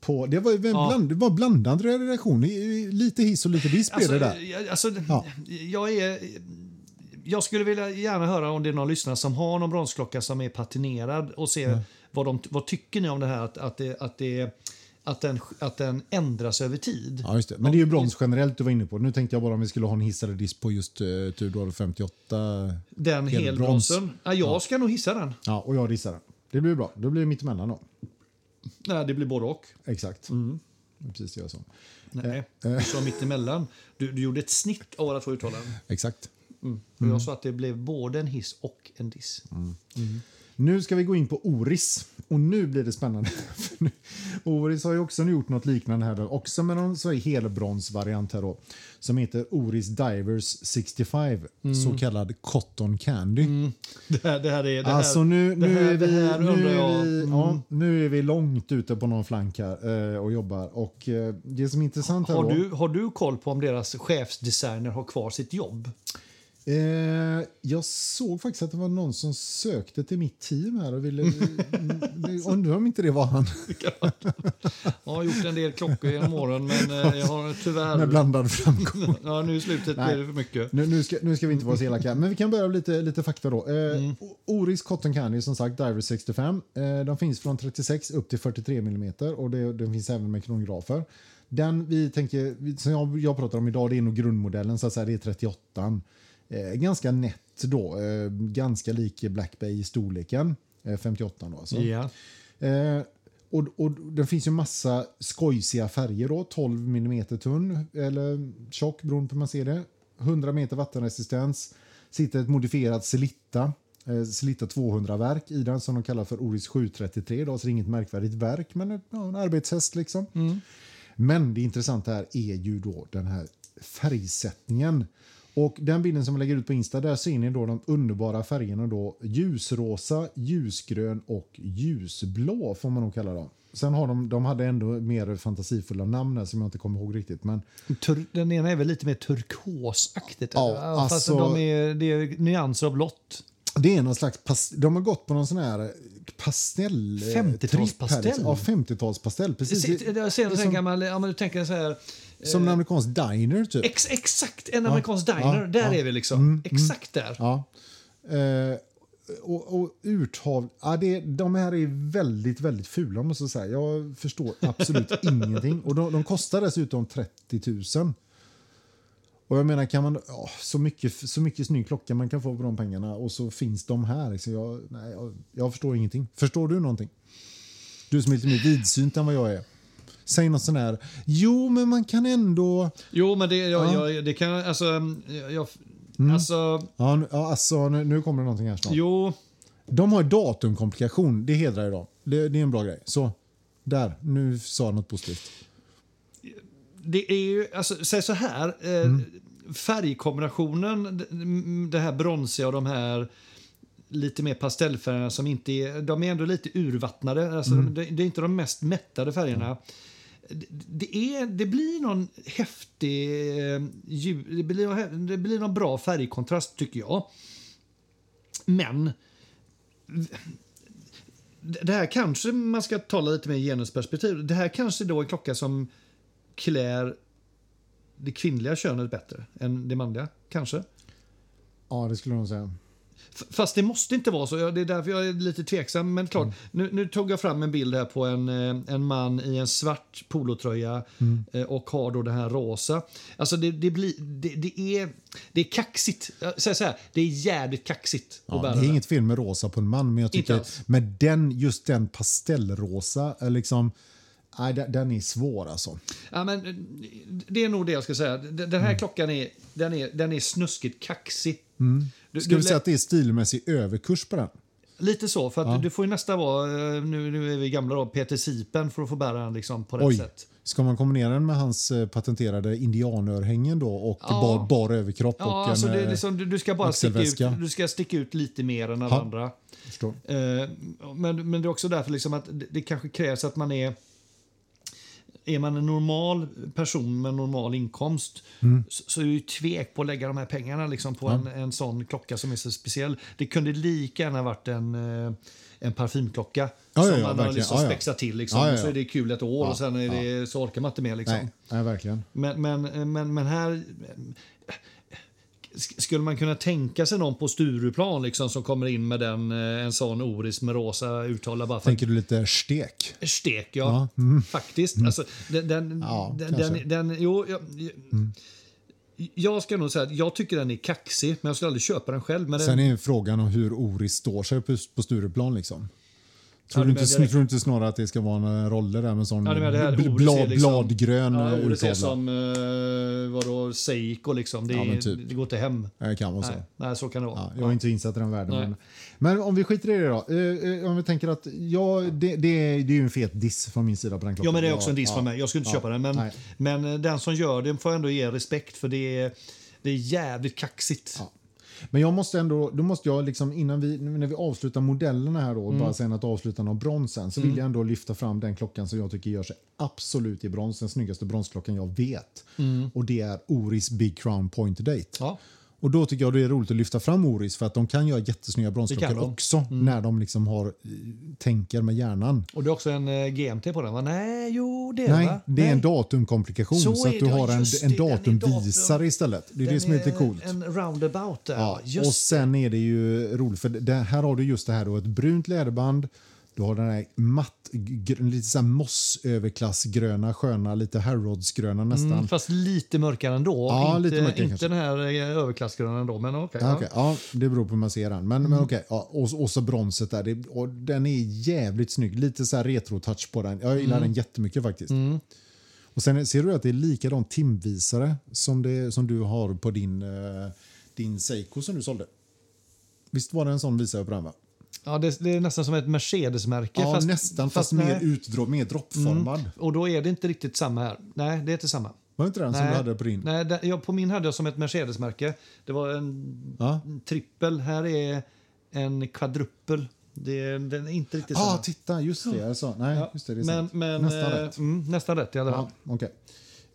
[SPEAKER 2] på det var ju en
[SPEAKER 1] Ja.
[SPEAKER 2] bland, det var blandad reaktion. I- i- Lite hiss och lite diss blev det där.
[SPEAKER 1] jag- Alltså,
[SPEAKER 2] Ja.
[SPEAKER 1] jag, är, jag skulle vilja gärna höra om det är någon lyssnare som har någon bronsklocka som är patinerad och se
[SPEAKER 2] Mm.
[SPEAKER 1] vad, de, vad tycker ni om det här att, att, det, att, det, att, den, att den ändras över tid.
[SPEAKER 2] Ja, just det. Men det är ju brons generellt du var inne på. Nu tänkte jag bara om vi skulle ha en hiss eller diss på just uh, Tudor 58.
[SPEAKER 1] Den
[SPEAKER 2] Helbrons.
[SPEAKER 1] helbronsen. Ja, jag ska nog hissa den.
[SPEAKER 2] Ja, och jag dissar den. Det blir bra. Då blir det mittemellan då.
[SPEAKER 1] Nej, det blir både och.
[SPEAKER 2] Exakt.
[SPEAKER 1] Mm.
[SPEAKER 2] Precis det jag sa.
[SPEAKER 1] Nej, du sa mittemellan. Du, du gjorde ett snitt av våra två uttalanden.
[SPEAKER 2] Exakt.
[SPEAKER 1] Och
[SPEAKER 2] Mm.
[SPEAKER 1] jag sa att det blev både en hiss och en diss.
[SPEAKER 2] Nu ska vi gå in på Oris. Och nu blir det spännande. För nu- Oris har ju också gjort något liknande här. Då. Också med någon så här helbronsvariant här då. Som heter Oris Divers 65.
[SPEAKER 1] Mm.
[SPEAKER 2] Så kallad cotton candy.
[SPEAKER 1] Det, här, det här är... Mm, Det här,
[SPEAKER 2] Alltså nu,
[SPEAKER 1] det
[SPEAKER 2] nu,
[SPEAKER 1] här-
[SPEAKER 2] är vi,
[SPEAKER 1] det här
[SPEAKER 2] nu,
[SPEAKER 1] undrar
[SPEAKER 2] är
[SPEAKER 1] jag. Mm.
[SPEAKER 2] vi, ja, nu är vi långt ute på någon flank här eh, och jobbar. Och eh, det som är intressant här
[SPEAKER 1] Har
[SPEAKER 2] då,
[SPEAKER 1] du, har du koll på om deras chefsdesigner har kvar sitt jobb?
[SPEAKER 2] eh, jag såg faktiskt att det var någon som sökte till mitt team här och ville, Mm, undrar om inte det var han
[SPEAKER 1] Jag har gjort en del klockor genom åren, men eh, jag har
[SPEAKER 2] med
[SPEAKER 1] tyvärr...
[SPEAKER 2] blandad framgång.
[SPEAKER 1] Ja, nu i slutet
[SPEAKER 2] Nej.
[SPEAKER 1] blir det för mycket.
[SPEAKER 2] Nu, nu, ska, nu ska vi inte vara så elaka, men vi kan börja med lite, lite fakta. då. Eh, O- Oris Cotton Candy, som sagt, Diver 65. Eh, de finns från 36 upp till 43 mm och det, den finns även med kronografer. Den vi tänker, vi- som jag, jag pratar om idag det är nog grundmodellen, så att säga, det är 38. Eh, ganska nätt då, eh, ganska lik Black Bay i storleken. Eh, 58 då alltså.
[SPEAKER 1] Ja.
[SPEAKER 2] Eh, och, och Det finns ju massa skojsiga färger. Då, 12 mm tunn eller tjock beroende på hur man ser det. 100 meter vattenresistens. sitter ett modifierat Selitta eh, Selitta 200-verk i den som de kallar för Oris 733. Då, så det är inget märkvärdigt verk, men ett- ja, en arbetshäst. Liksom. Men det intressanta här är ju då den här färgsättningen. Och den bilden som jag lägger ut på Insta där ser ni då de underbara färgerna då ljusrosa, ljusgrön och ljusblå får man nog kalla dem. Sen har de, de hade ändå mer fantasifulla namn här som jag inte kommer ihåg riktigt. Men
[SPEAKER 1] Tur, den ena är väl lite mer turkosaktigt?
[SPEAKER 2] Ja,
[SPEAKER 1] eller? Fast
[SPEAKER 2] alltså-
[SPEAKER 1] de är, det är nyanser av blått.
[SPEAKER 2] Det är någon slags pas- de har gått på någon sån här pastell... eh,
[SPEAKER 1] 50-talspastell.
[SPEAKER 2] tripp här. Ja, 50-talspastell. Precis.
[SPEAKER 1] Se- Jag ser
[SPEAKER 2] liksom-
[SPEAKER 1] en sån här gammal, eh, ja, men du tänker så här,
[SPEAKER 2] Som en amerikansk diner, typ.
[SPEAKER 1] ex, exakt en amerikansk diner,
[SPEAKER 2] ja, Mm.
[SPEAKER 1] där
[SPEAKER 2] ja.
[SPEAKER 1] är vi liksom. exakt där.
[SPEAKER 2] Ja. Eh, och, och urtavl... Ja, det, de här är väldigt, väldigt fula, måste jag säga. Jag förstår absolut ingenting. Och de, de kostar dessutom 30 000. Och jag menar, kan man, ja, så, mycket, så mycket snygg klocka man kan få på de pengarna och så finns de här. Så jag, nej, jag, jag förstår ingenting. Förstår du någonting? Du som är lite mer vidsynt än vad jag är. Säg något sån här. Jo, men man kan ändå...
[SPEAKER 1] Jo, men det, jag,
[SPEAKER 2] Ja.
[SPEAKER 1] jag, det kan alltså, jag, jag, alltså,
[SPEAKER 2] Ja, nu- ja, alltså, nu, nu kommer det någonting här snart.
[SPEAKER 1] jo,
[SPEAKER 2] De har datumkomplikation. Det hedrar ju dem. Det, det är en bra grej. Så, där. Nu sa jag något positivt.
[SPEAKER 1] det är ju, alltså, säg så här, eh, färgkombinationen, d- m- det här bronsiga och de här lite mer pastellfärgerna som inte är, de är ändå lite urvattnade, alltså, det, det är inte de mest mättade färgerna. Det- Det, är, det blir någon häftig... eh, lju- Det blir, någon hä- det blir någon bra färgkontrast, tycker jag. Men det här kanske man ska tala lite mer genusperspektiv. Det här kanske då är en klocka som klär det kvinnliga könet bättre än det manliga, kanske.
[SPEAKER 2] Ja, det skulle de säga.
[SPEAKER 1] F- Fast det måste inte vara så. Ja, Det är därför jag är lite tveksam. Men
[SPEAKER 2] Mm.
[SPEAKER 1] klart, nu, nu tog jag fram en bild här på en, eh, en man i en svart polotröja
[SPEAKER 2] Mm.
[SPEAKER 1] eh, och har då den här rosa. Alltså det, det, blir, det, det, är, det är kaxigt. Jag säger så här, det är jävligt kaxigt att
[SPEAKER 2] Ja,
[SPEAKER 1] bära
[SPEAKER 2] det är
[SPEAKER 1] den.
[SPEAKER 2] inget fel med rosa på en man, men jag
[SPEAKER 1] Inte
[SPEAKER 2] tycker
[SPEAKER 1] alls.
[SPEAKER 2] men den, just den pastellrosa, är liksom, nej, den, den är svår alltså.
[SPEAKER 1] Ja, men, eh, det är nog det jag ska säga. D- Den
[SPEAKER 2] Mm.
[SPEAKER 1] här klockan är, den är, den är snuskigt kaxig. Du,
[SPEAKER 2] Mm. Ska
[SPEAKER 1] du,
[SPEAKER 2] vi säga att det är stilmässig överkurs på den?
[SPEAKER 1] Lite så, för att du får ju nästan vara, eh, nu, nu är vi gamla då, Peter Sipen för att få bära den liksom på rätt
[SPEAKER 2] Oj,
[SPEAKER 1] sätt.
[SPEAKER 2] ska man kombinera den med hans eh, patenterade indianörhängen då och
[SPEAKER 1] Ja.
[SPEAKER 2] bar, bar överkropp?
[SPEAKER 1] Ja,
[SPEAKER 2] och
[SPEAKER 1] alltså
[SPEAKER 2] en,
[SPEAKER 1] det, är
[SPEAKER 2] eh,
[SPEAKER 1] liksom, du, du, ska bara sticka ut,
[SPEAKER 2] axelväska.
[SPEAKER 1] du ska sticka ut lite mer än alla
[SPEAKER 2] Ja.
[SPEAKER 1] andra.
[SPEAKER 2] förstår.
[SPEAKER 1] Eh, men, men det är också därför liksom att det, det kanske krävs att man är... Är man en normal person med normal inkomst
[SPEAKER 2] Mm.
[SPEAKER 1] så, så är det ju tvek på att lägga de här pengarna liksom på en, en sån klocka som är så speciell. Det kunde lika gärna varit en, eh, en parfymklocka
[SPEAKER 2] Ja, ja,
[SPEAKER 1] som
[SPEAKER 2] ja,
[SPEAKER 1] man har
[SPEAKER 2] verkligen.
[SPEAKER 1] liksom
[SPEAKER 2] Ja, ja.
[SPEAKER 1] spexat till. Liksom.
[SPEAKER 2] Ja, ja, ja.
[SPEAKER 1] Så är det kul ett år
[SPEAKER 2] Ja,
[SPEAKER 1] och sen är det, så orkar man inte mer. Liksom.
[SPEAKER 2] Nej, nej, verkligen.
[SPEAKER 1] Men, men, men, men här... eh, sk- Skulle man kunna tänka sig någon på Stureplan liksom, som kommer in med den, eh, en sån Oris med rosa urtavla bara för
[SPEAKER 2] Tänker du lite stek?
[SPEAKER 1] Stek, ja. Faktiskt. Alltså, den, den,
[SPEAKER 2] Mm. Ja,
[SPEAKER 1] den,
[SPEAKER 2] kanske. Mm.
[SPEAKER 1] den, den, jo, jag, jag- jag ska nog säga att jag tycker den är kaxig, men jag skulle aldrig köpa den själv. Men den,
[SPEAKER 2] Sen är frågan om hur Oris står sig på, på Stureplan. Liksom. Tror,
[SPEAKER 1] Ja,
[SPEAKER 2] du
[SPEAKER 1] du
[SPEAKER 2] inte,
[SPEAKER 1] menar direkt-
[SPEAKER 2] tror du inte snarare att det ska vara en roller där med sån
[SPEAKER 1] Ja, du menar det här
[SPEAKER 2] bl-
[SPEAKER 1] Oris är
[SPEAKER 2] blad,
[SPEAKER 1] liksom-
[SPEAKER 2] bladgrön
[SPEAKER 1] ja,
[SPEAKER 2] ja,
[SPEAKER 1] Oris är
[SPEAKER 2] urtavla?
[SPEAKER 1] som eh, vadå, Seiko, liksom. det,
[SPEAKER 2] Ja, men typ.
[SPEAKER 1] det går inte hem.
[SPEAKER 2] Eh, kan vara så.
[SPEAKER 1] Nej, nej, så kan det vara.
[SPEAKER 2] Ja, jag är inte insatt i den världen.
[SPEAKER 1] Nej.
[SPEAKER 2] Men, men om vi skiter i det då. Eh, eh, om vi tänker att ja, det, det, är- det är ju en fet diss från min sida på den klockan.
[SPEAKER 1] Ja, men det är också en diss
[SPEAKER 2] Ja,
[SPEAKER 1] från mig. Jag skulle inte
[SPEAKER 2] ja,
[SPEAKER 1] köpa den. Men,
[SPEAKER 2] nej.
[SPEAKER 1] men eh, den som gör det får ändå ge respekt för det är, det är jävligt kaxigt.
[SPEAKER 2] Ja. Men jag måste ändå, då måste jag liksom innan vi, nu när vi avslutar modellerna här
[SPEAKER 1] Mm.
[SPEAKER 2] då, bara sen att avsluta någon bronsen, så vill jag ändå lyfta fram den klockan som jag tycker gör sig absolut i brons, den snyggaste bronsklockan jag vet. Och det är Oris Big Crown Point Date.
[SPEAKER 1] Mm. Ja.
[SPEAKER 2] Och då tycker jag det är roligt att lyfta fram Oris för att de kan göra jättesnygga
[SPEAKER 1] Det kan
[SPEAKER 2] bronsklockor
[SPEAKER 1] de. Mm.
[SPEAKER 2] också när de liksom har, eh, tänker med hjärnan.
[SPEAKER 1] Och det är också en eh, GMT på den va? Nej, jo det är
[SPEAKER 2] Nej,
[SPEAKER 1] va?
[SPEAKER 2] det är en datumkomplikation
[SPEAKER 1] Så
[SPEAKER 2] så,
[SPEAKER 1] är
[SPEAKER 2] att
[SPEAKER 1] det,
[SPEAKER 2] du
[SPEAKER 1] ja,
[SPEAKER 2] har en,
[SPEAKER 1] just det,
[SPEAKER 2] en
[SPEAKER 1] den är datum.
[SPEAKER 2] datumvisare istället. Det är det som är lite coolt.
[SPEAKER 1] En roundabout där.
[SPEAKER 2] Ja,
[SPEAKER 1] Ja,
[SPEAKER 2] och
[SPEAKER 1] just
[SPEAKER 2] sen är det ju roligt, för det, här har du just det här då, ett brunt läderband. Du har den här matt, gr, lite så här mossöverklassgröna, sköna, lite Harrodsgröna nästan.
[SPEAKER 1] Mm, Fast lite mörkare ändå.
[SPEAKER 2] Ja,
[SPEAKER 1] inte,
[SPEAKER 2] lite mörkare
[SPEAKER 1] Inte
[SPEAKER 2] kanske.
[SPEAKER 1] den här eh, överklassgröna ändå, men okej.
[SPEAKER 2] Ja, Mm.
[SPEAKER 1] ja.
[SPEAKER 2] okej. ja, det beror på hur man ser den. Men, men okej, ja, och, och så bronset där. Det, och den är jävligt snygg. Lite så här retro-touch på den. Jag gillar den jättemycket faktiskt. Och sen ser du att det är likadan timvisare som, det, som du har på din, eh, din Seiko som du sålde. Visst var det en sån visade på den va?
[SPEAKER 1] Ja, det, det är nästan som ett Mercedes-märke.
[SPEAKER 2] Ja, nästan, fast,
[SPEAKER 1] nej. Mm.
[SPEAKER 2] mer utdrag, mer droppformad.
[SPEAKER 1] Och då är det inte riktigt samma här. Nej, det är inte samma.
[SPEAKER 2] Var det inte den som
[SPEAKER 1] Nej.
[SPEAKER 2] du hade på din?
[SPEAKER 1] Nej, det, ja, på min hade jag som ett Mercedes-märke. Det var en
[SPEAKER 2] Ja.
[SPEAKER 1] trippel. Här är en kvadruppel. Det, är- den är inte riktigt
[SPEAKER 2] Ah,
[SPEAKER 1] samma.
[SPEAKER 2] titta, just det. Alltså. Nej,
[SPEAKER 1] Ja,
[SPEAKER 2] just det, det är
[SPEAKER 1] men,
[SPEAKER 2] sant.
[SPEAKER 1] men,
[SPEAKER 2] Nästan
[SPEAKER 1] eh,
[SPEAKER 2] rätt.
[SPEAKER 1] Mm, nästan rätt i alla fall.
[SPEAKER 2] Ja, okej.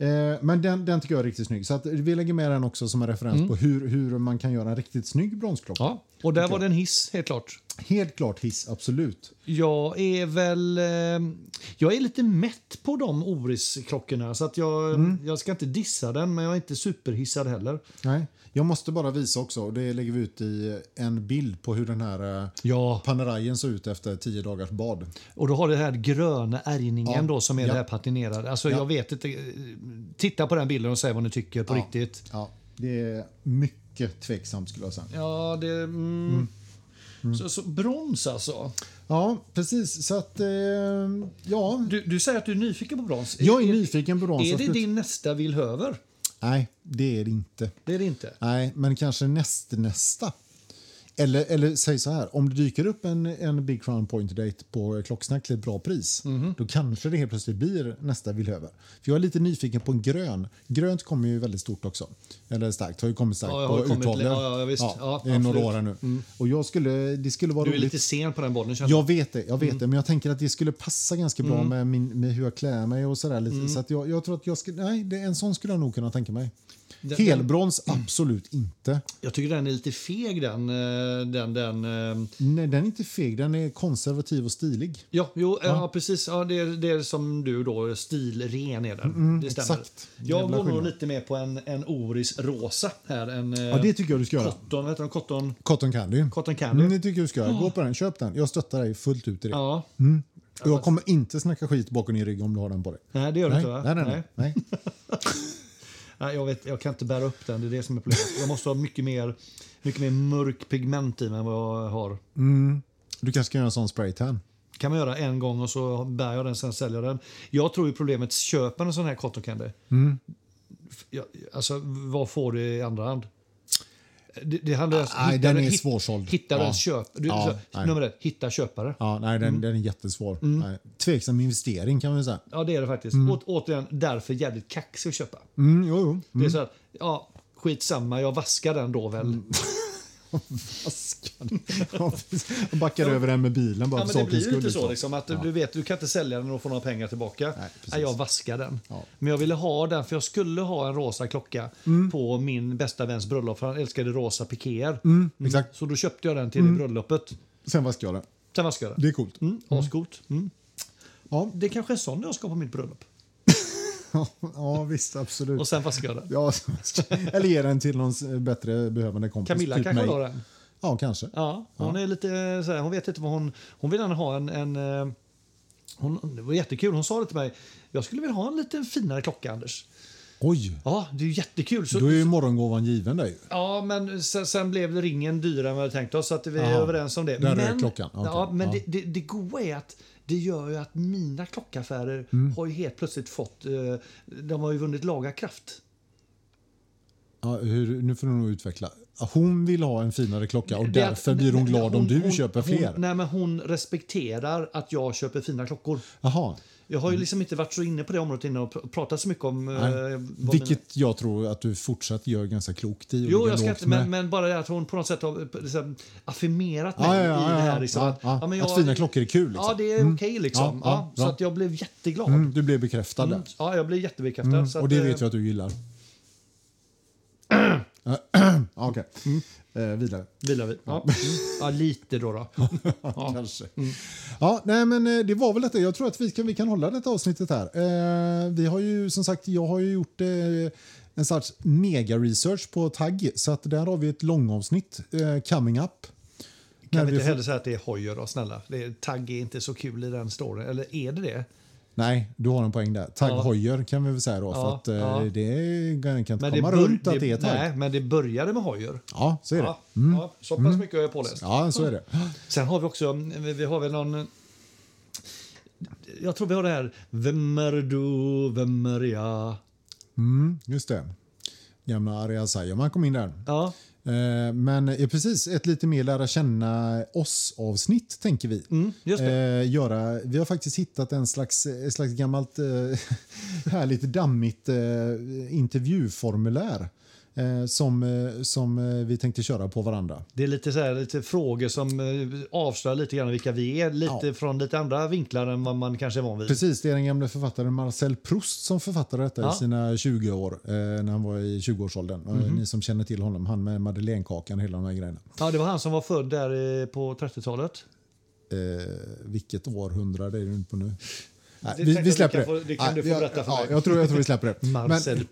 [SPEAKER 2] Eh, men den, den tycker jag är riktigt snygg. Så att vi lägger med den också som en referens på hur, hur man kan göra en riktigt snygg bronsklocka.
[SPEAKER 1] Mm. Ja. Och där var det en hiss, helt klart.
[SPEAKER 2] Helt klart hiss, absolut.
[SPEAKER 1] Jag är väl... eh, Jag är lite mätt på de Oris-klockorna. Så att jag,
[SPEAKER 2] Mm.
[SPEAKER 1] jag ska inte dissa den, men jag är inte superhissad heller.
[SPEAKER 2] Nej. Jag måste bara visa också, och det lägger vi ut i en bild på hur den här eh,
[SPEAKER 1] Ja.
[SPEAKER 2] Panerajen såg ut efter tio dagars bad.
[SPEAKER 1] Och då har det här gröna ärgningen
[SPEAKER 2] Ja.
[SPEAKER 1] då som är
[SPEAKER 2] Ja.
[SPEAKER 1] det här patinerade. Alltså
[SPEAKER 2] Ja.
[SPEAKER 1] jag vet inte. eh, Titta på den bilden och säg vad ni tycker på
[SPEAKER 2] Ja.
[SPEAKER 1] riktigt.
[SPEAKER 2] Ja, det är mycket tveksamt skulle jag säga.
[SPEAKER 1] Ja, det... Mm.
[SPEAKER 2] Mm.
[SPEAKER 1] Så, så brons alltså.
[SPEAKER 2] Ja, precis. Så att, eh, ja.
[SPEAKER 1] Du, du säger att du är nyfiken på brons.
[SPEAKER 2] Jag är nyfiken på brons.
[SPEAKER 1] Är det din nästa Vilhöver?
[SPEAKER 2] Nej, det är det inte.
[SPEAKER 1] Det är det inte.
[SPEAKER 2] Nej, men kanske näst, nästa. Eller, eller säg så här, om det dyker upp en, en Big Crown Point Date på Klocksnack till ett bra pris,
[SPEAKER 1] Mhm.
[SPEAKER 2] då kanske det helt plötsligt blir nästa Villhöver. För jag är lite nyfiken på en grön. Grönt kommer ju väldigt stort också. Eller starkt, har ju kommit starkt
[SPEAKER 1] Ja, jag har
[SPEAKER 2] på
[SPEAKER 1] ju kommit-
[SPEAKER 2] Uttavlor.
[SPEAKER 1] ja, ja, visst. Ja,
[SPEAKER 2] det är några
[SPEAKER 1] absolut. Mm.
[SPEAKER 2] år här nu. Och jag skulle, det skulle vara
[SPEAKER 1] Du är
[SPEAKER 2] roligt.
[SPEAKER 1] lite sen på den bollen känner jag.
[SPEAKER 2] Jag vet det, jag
[SPEAKER 1] Mm.
[SPEAKER 2] vet det, men jag tänker att det skulle passa ganska bra med, min, med hur jag klär mig och sådär.
[SPEAKER 1] Mm.
[SPEAKER 2] Lite. Så att jag, jag tror att jag skulle, nej, det, en sån skulle jag nog kunna tänka mig.
[SPEAKER 1] Den-
[SPEAKER 2] Helbrons, absolut inte.
[SPEAKER 1] Jag tycker den är lite feg den. eh, den, den eh,
[SPEAKER 2] Nej, den är inte feg, den är konservativ och stilig.
[SPEAKER 1] ja, jo, eh, ja. ja, precis. Ja, det, är, det är som du då, stilren är den. det stämmer.
[SPEAKER 2] Mm, exakt.
[SPEAKER 1] Jag
[SPEAKER 2] Jävla
[SPEAKER 1] går nog
[SPEAKER 2] skillnad.
[SPEAKER 1] lite mer på en, en Oris rosa här. En, eh,
[SPEAKER 2] Ja, det tycker jag du ska göra.
[SPEAKER 1] Cotton, vet du, cotton,
[SPEAKER 2] Cotton candy.
[SPEAKER 1] cotton candy. Ah.
[SPEAKER 2] Mm, det tycker jag du ska göra. Gå på den, köp den. Jag stöttar dig fullt ut i det.
[SPEAKER 1] Ja.
[SPEAKER 2] Och jag kommer inte snacka skit bakom din rygg om du har den på dig.
[SPEAKER 1] Nej, det gör du
[SPEAKER 2] Nej,
[SPEAKER 1] inte va?
[SPEAKER 2] nej, nej. nej. nej.
[SPEAKER 1] Nej, jag, vet, jag kan inte bära upp den, det är det som är problemet. Jag måste ha mycket mer, mycket mer mörk pigment i mig än vad jag har.
[SPEAKER 2] Mm. Du kanske kan göra en sån spraytan.
[SPEAKER 1] kan man göra en gång och så bär jag den, sen säljer jag den. Jag tror ju problemet, köper en sån här cotton candy,
[SPEAKER 2] Mm.
[SPEAKER 1] F- ja, alltså vad får du i andra hand? Det, det handlar
[SPEAKER 2] Nej,
[SPEAKER 1] hittar
[SPEAKER 2] den
[SPEAKER 1] du-
[SPEAKER 2] är
[SPEAKER 1] hit-
[SPEAKER 2] svårsåld.
[SPEAKER 1] Hittar du
[SPEAKER 2] Ja.
[SPEAKER 1] en köp... Du,
[SPEAKER 2] Ja,
[SPEAKER 1] så,
[SPEAKER 2] nej.
[SPEAKER 1] nummer ett, hitta köpare.
[SPEAKER 2] Ja, nej,
[SPEAKER 1] Mm.
[SPEAKER 2] den, den är jättesvår. Nej. Tveksam investering kan man säga.
[SPEAKER 1] Ja, det är det faktiskt. Åt, återigen, därför jävligt kaxig att köpa.
[SPEAKER 2] Mm, Mm. jo, jo.
[SPEAKER 1] Det är så att, ja, skitsamma, jag vaskar den då väl.
[SPEAKER 2] Askan. Jag backar över den med bilen bara
[SPEAKER 1] Ja,
[SPEAKER 2] för
[SPEAKER 1] men det blir
[SPEAKER 2] sakens
[SPEAKER 1] ju
[SPEAKER 2] skull.
[SPEAKER 1] inte så.
[SPEAKER 2] liksom.
[SPEAKER 1] Liksom, att du- Du vet, du kan inte sälja den och få några pengar tillbaka.
[SPEAKER 2] Nej, precis.
[SPEAKER 1] Nej, jag vaskar den.
[SPEAKER 2] Ja.
[SPEAKER 1] Men jag ville ha den för jag skulle ha en rosa klocka på min bästa väns bröllop. För han älskade rosa pikéer. Mm.
[SPEAKER 2] Exakt.
[SPEAKER 1] Så då köpte jag den till bröllopet.
[SPEAKER 2] Sen vaskar jag den.
[SPEAKER 1] Sen vaskade jag den.
[SPEAKER 2] Det är coolt.
[SPEAKER 1] liksom. Mm, Ascoolt. Mm.
[SPEAKER 2] Ja.
[SPEAKER 1] Det är kanske är sån jag ska ha på mitt bröllop.
[SPEAKER 2] ja, visst. Absolut.
[SPEAKER 1] Och sen vaskade jag den.
[SPEAKER 2] Ja, eller ge den till någon bättre behövande kompis.
[SPEAKER 1] Camilla
[SPEAKER 2] typ
[SPEAKER 1] kanske
[SPEAKER 2] mig.
[SPEAKER 1] har den.
[SPEAKER 2] Ja, kanske.
[SPEAKER 1] Ja, hon är lite eh, så här, hon vet inte vad hon... Hon vill gärna ha en... en eh, hon, det var jättekul. Hon sa det till mig. Jag skulle vilja ha en lite finare klocka, Anders.
[SPEAKER 2] Oj!
[SPEAKER 1] Ja, det är ju jättekul. Så,
[SPEAKER 2] Då är ju morgongåvan given där ju.
[SPEAKER 1] Ja, men sen, sen blev ringen dyrare än vad jag tänkt oss. Så att vi är
[SPEAKER 2] Aha.
[SPEAKER 1] överens om det.
[SPEAKER 2] Där är
[SPEAKER 1] men
[SPEAKER 2] klockan. Okej.
[SPEAKER 1] ja, men
[SPEAKER 2] Ja.
[SPEAKER 1] Det, det, det goa är att det gör ju att mina klockaffärer
[SPEAKER 2] Mm.
[SPEAKER 1] har ju helt plötsligt fått... Eh, de har ju vunnit laga kraft.
[SPEAKER 2] Ja, hur, nu får du nog utveckla. Hon vill ha en finare klocka och
[SPEAKER 1] Det är att-
[SPEAKER 2] därför blir hon
[SPEAKER 1] nej,
[SPEAKER 2] glad om
[SPEAKER 1] hon-
[SPEAKER 2] du
[SPEAKER 1] hon-
[SPEAKER 2] köper fler.
[SPEAKER 1] Hon, nej, men hon respekterar att jag köper fina klockor.
[SPEAKER 2] Jaha.
[SPEAKER 1] Jag har ju liksom inte varit så inne på det området innan och pr- pratat så mycket om... eh,
[SPEAKER 2] Mm. Nej.
[SPEAKER 1] vad mina-
[SPEAKER 2] Vilket jag tror att du fortsatt gör ganska klokt i. och
[SPEAKER 1] Jo,
[SPEAKER 2] ligger
[SPEAKER 1] jag ska
[SPEAKER 2] lågt
[SPEAKER 1] inte, men,
[SPEAKER 2] med.
[SPEAKER 1] men bara det att hon på något sätt har eh, liksom, affirmerat mig
[SPEAKER 2] Ja, ja, ja,
[SPEAKER 1] i det
[SPEAKER 2] ja,
[SPEAKER 1] här. Liksom,
[SPEAKER 2] ja,
[SPEAKER 1] att,
[SPEAKER 2] ja.
[SPEAKER 1] men
[SPEAKER 2] Att fina klockor är kul, liksom.
[SPEAKER 1] Ja, det är okej. Liksom.
[SPEAKER 2] Ja,
[SPEAKER 1] Ja,
[SPEAKER 2] ja,
[SPEAKER 1] så
[SPEAKER 2] bra.
[SPEAKER 1] att jag blev jätteglad.
[SPEAKER 2] Mm, du blev bekräftad där.
[SPEAKER 1] Ja, jag blev jättebekräftad. så att,
[SPEAKER 2] Och det
[SPEAKER 1] eh,
[SPEAKER 2] vet jag att du gillar. Ja, Okej. Eh, vidare.
[SPEAKER 1] Vilar vi. Ja. ja, lite då. då. Ja. Mm.
[SPEAKER 2] Kanske. Ja, nej, men eh, det var väl detta. Jag tror att vi kan, vi kan hålla detta avsnittet här. Eh, vi har ju som sagt, jag har ju gjort eh, en sorts mega-research på tagg, så att där har vi ett långavsnitt, eh, coming up.
[SPEAKER 1] Kan
[SPEAKER 2] När
[SPEAKER 1] vi
[SPEAKER 2] vi
[SPEAKER 1] inte
[SPEAKER 2] får-
[SPEAKER 1] heller säga att det är hojer då, snälla? Det är, tagg är inte så kul i den storyn. Eller är det det?
[SPEAKER 2] Nej, du har en poäng där. Tagg
[SPEAKER 1] Ja.
[SPEAKER 2] hojer kan vi väl säga då, för att eh,
[SPEAKER 1] ja.
[SPEAKER 2] det är- kan inte
[SPEAKER 1] Men
[SPEAKER 2] komma
[SPEAKER 1] det bör-
[SPEAKER 2] runt att det är tagg.
[SPEAKER 1] Nej, men det började med hojer.
[SPEAKER 2] Ja, så är det. Mm.
[SPEAKER 1] Ja, ja, så pass mycket har jag påläst.
[SPEAKER 2] Ja, så är det.
[SPEAKER 1] Sen har vi också, vi vi har väl någon... Jag tror vi har det här, vem är du, vem är jag?
[SPEAKER 2] Mm, just det. gamla Ariel Sayaman kom in där.
[SPEAKER 1] Ja.
[SPEAKER 2] Eh, Men eh, precis, ett lite mer lära känna oss-avsnitt tänker vi.
[SPEAKER 1] Mm, just det.
[SPEAKER 2] Eh, göra. Vi har faktiskt hittat en slags, ett slags gammalt eh, härligt dammigt eh, intervjuformulär eh, som, eh, som eh, vi tänkte köra på varandra.
[SPEAKER 1] Det är lite, så här, lite frågor som eh, avslöjar lite grann vilka vi är. Lite
[SPEAKER 2] Ja.
[SPEAKER 1] från lite andra vinklar än vad man kanske är van vid.
[SPEAKER 2] Precis, det är den gamle författaren Marcel Proust som författade detta
[SPEAKER 1] Ja.
[SPEAKER 2] i sina 20 år, eh, när han var i 20-årsåldern. Och
[SPEAKER 1] Mhm.
[SPEAKER 2] Ni som känner till honom, han med madeleinekakan och hela de här grejerna.
[SPEAKER 1] Ja, det var han som var född där eh, på 30-talet.
[SPEAKER 2] Eh, vilket århundrade är du inte på nu? Nej,
[SPEAKER 1] Det
[SPEAKER 2] vi,
[SPEAKER 1] tänkte
[SPEAKER 2] vi
[SPEAKER 1] jag
[SPEAKER 2] släpper
[SPEAKER 1] att du
[SPEAKER 2] det.
[SPEAKER 1] kan få- det kan
[SPEAKER 2] Nej,
[SPEAKER 1] du få
[SPEAKER 2] jag-
[SPEAKER 1] berätta för
[SPEAKER 2] ja,
[SPEAKER 1] mig.
[SPEAKER 2] Jag tror, jag tror vi släpper det.
[SPEAKER 1] Marcel
[SPEAKER 2] Men-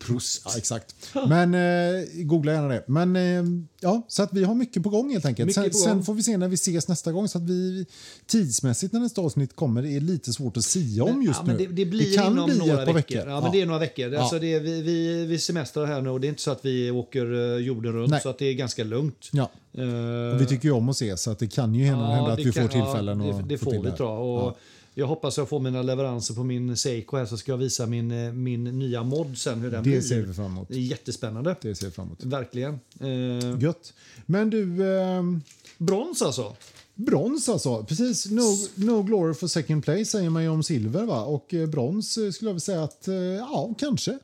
[SPEAKER 2] Ja, exakt. Men eh, googla gärna det. Men eh, ja, så att vi har mycket på gång helt enkelt.
[SPEAKER 1] Mycket
[SPEAKER 2] Sen,
[SPEAKER 1] på gång.
[SPEAKER 2] sen får vi se när vi ses nästa gång. Så att vi tidsmässigt när nästa avsnitt kommer är lite svårt att sia om just
[SPEAKER 1] ja, men
[SPEAKER 2] nu.
[SPEAKER 1] det, det blir
[SPEAKER 2] kan
[SPEAKER 1] inom
[SPEAKER 2] bli
[SPEAKER 1] några
[SPEAKER 2] ett par
[SPEAKER 1] veckor.
[SPEAKER 2] veckor.
[SPEAKER 1] Ja, men Det är några veckor.
[SPEAKER 2] Ja.
[SPEAKER 1] Alltså det är, vi, vi, vi semestrar här nu och det är inte så att vi åker eh, jorden runt
[SPEAKER 2] Nej.
[SPEAKER 1] så att det är ganska lugnt.
[SPEAKER 2] Ja,
[SPEAKER 1] Eh,
[SPEAKER 2] och vi tycker ju om att ses så att det kan ju hända, hända att
[SPEAKER 1] det
[SPEAKER 2] vi
[SPEAKER 1] kan-
[SPEAKER 2] får tillfällen
[SPEAKER 1] ja,
[SPEAKER 2] att
[SPEAKER 1] det, det
[SPEAKER 2] få
[SPEAKER 1] får
[SPEAKER 2] till
[SPEAKER 1] vi
[SPEAKER 2] här.
[SPEAKER 1] tror jag. Och
[SPEAKER 2] Ja.
[SPEAKER 1] Jag hoppas jag får mina leveranser på min Seiko här så ska jag visa min, eh, min nya mod sen hur den blir.
[SPEAKER 2] Det ser vi fram emot.
[SPEAKER 1] Det är jättespännande.
[SPEAKER 2] Det ser vi fram emot.
[SPEAKER 1] Verkligen. Eh,
[SPEAKER 2] Gött. Men du... ehm,
[SPEAKER 1] brons alltså.
[SPEAKER 2] Brons alltså. Precis. No, no glory for second place säger man ju om silver. va? Och eh, brons eh, skulle jag väl säga att, eh, ja, kanske.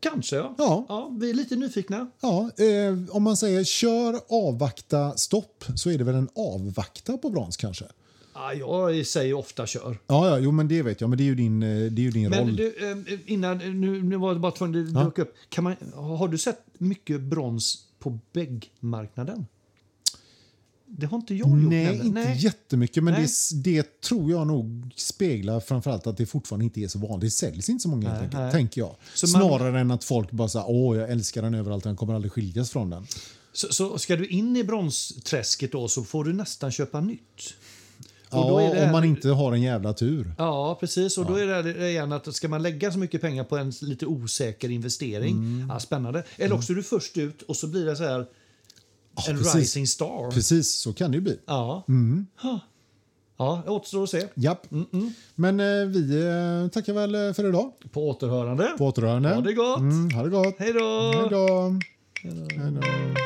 [SPEAKER 1] Kanske ja.
[SPEAKER 2] Ja.
[SPEAKER 1] Vi är lite nyfikna.
[SPEAKER 2] Ja, eh, om man säger kör, avvakta, stopp så är det väl en avvakta på brons kanske?
[SPEAKER 1] Ja, jag säger ofta kör.
[SPEAKER 2] Ja, ja jo, men det vet jag. Men det är ju din, eh, det är ju din roll.
[SPEAKER 1] Men du, eh, innan, nu, nu var det bara tvungen att det
[SPEAKER 2] Ja.
[SPEAKER 1] dök upp. Kan man, har du sett mycket brons på bäggmarknaden? Det har inte jag gjort.
[SPEAKER 2] Nej,
[SPEAKER 1] heller.
[SPEAKER 2] inte jättemycket. Men
[SPEAKER 1] Nej.
[SPEAKER 2] det, det tror jag nog speglar framförallt att det fortfarande inte är så vanligt. Det säljs inte så många, helt
[SPEAKER 1] Nej,
[SPEAKER 2] enkelt,
[SPEAKER 1] nej.
[SPEAKER 2] tänker jag.
[SPEAKER 1] Så man-
[SPEAKER 2] Snarare än att folk bara säger åh, jag älskar den överallt, den kommer aldrig skiljas från den.
[SPEAKER 1] Så, så ska du in i bronsträsket då så får du nästan köpa nytt. Och då är
[SPEAKER 2] ja,
[SPEAKER 1] det här-
[SPEAKER 2] om man inte har en jävla tur.
[SPEAKER 1] Ja, precis. Och då är det här igen att ska man lägga så mycket pengar på en lite osäker investering,
[SPEAKER 2] Mm.
[SPEAKER 1] ja, spännande. Eller också är du först ut och så blir det så här en
[SPEAKER 2] precis.
[SPEAKER 1] rising star.
[SPEAKER 2] Precis, Mm. så kan det ju bli.
[SPEAKER 1] Ja. Huh. Ja, det återstår att se.
[SPEAKER 2] Japp. Men eh, vi eh, tackar väl eh, för idag.
[SPEAKER 1] På återhörande.
[SPEAKER 2] På återhörande.
[SPEAKER 1] Ha det gott.
[SPEAKER 2] Mm, ha det gott.
[SPEAKER 1] Hej då!
[SPEAKER 2] Hej då. Hej då.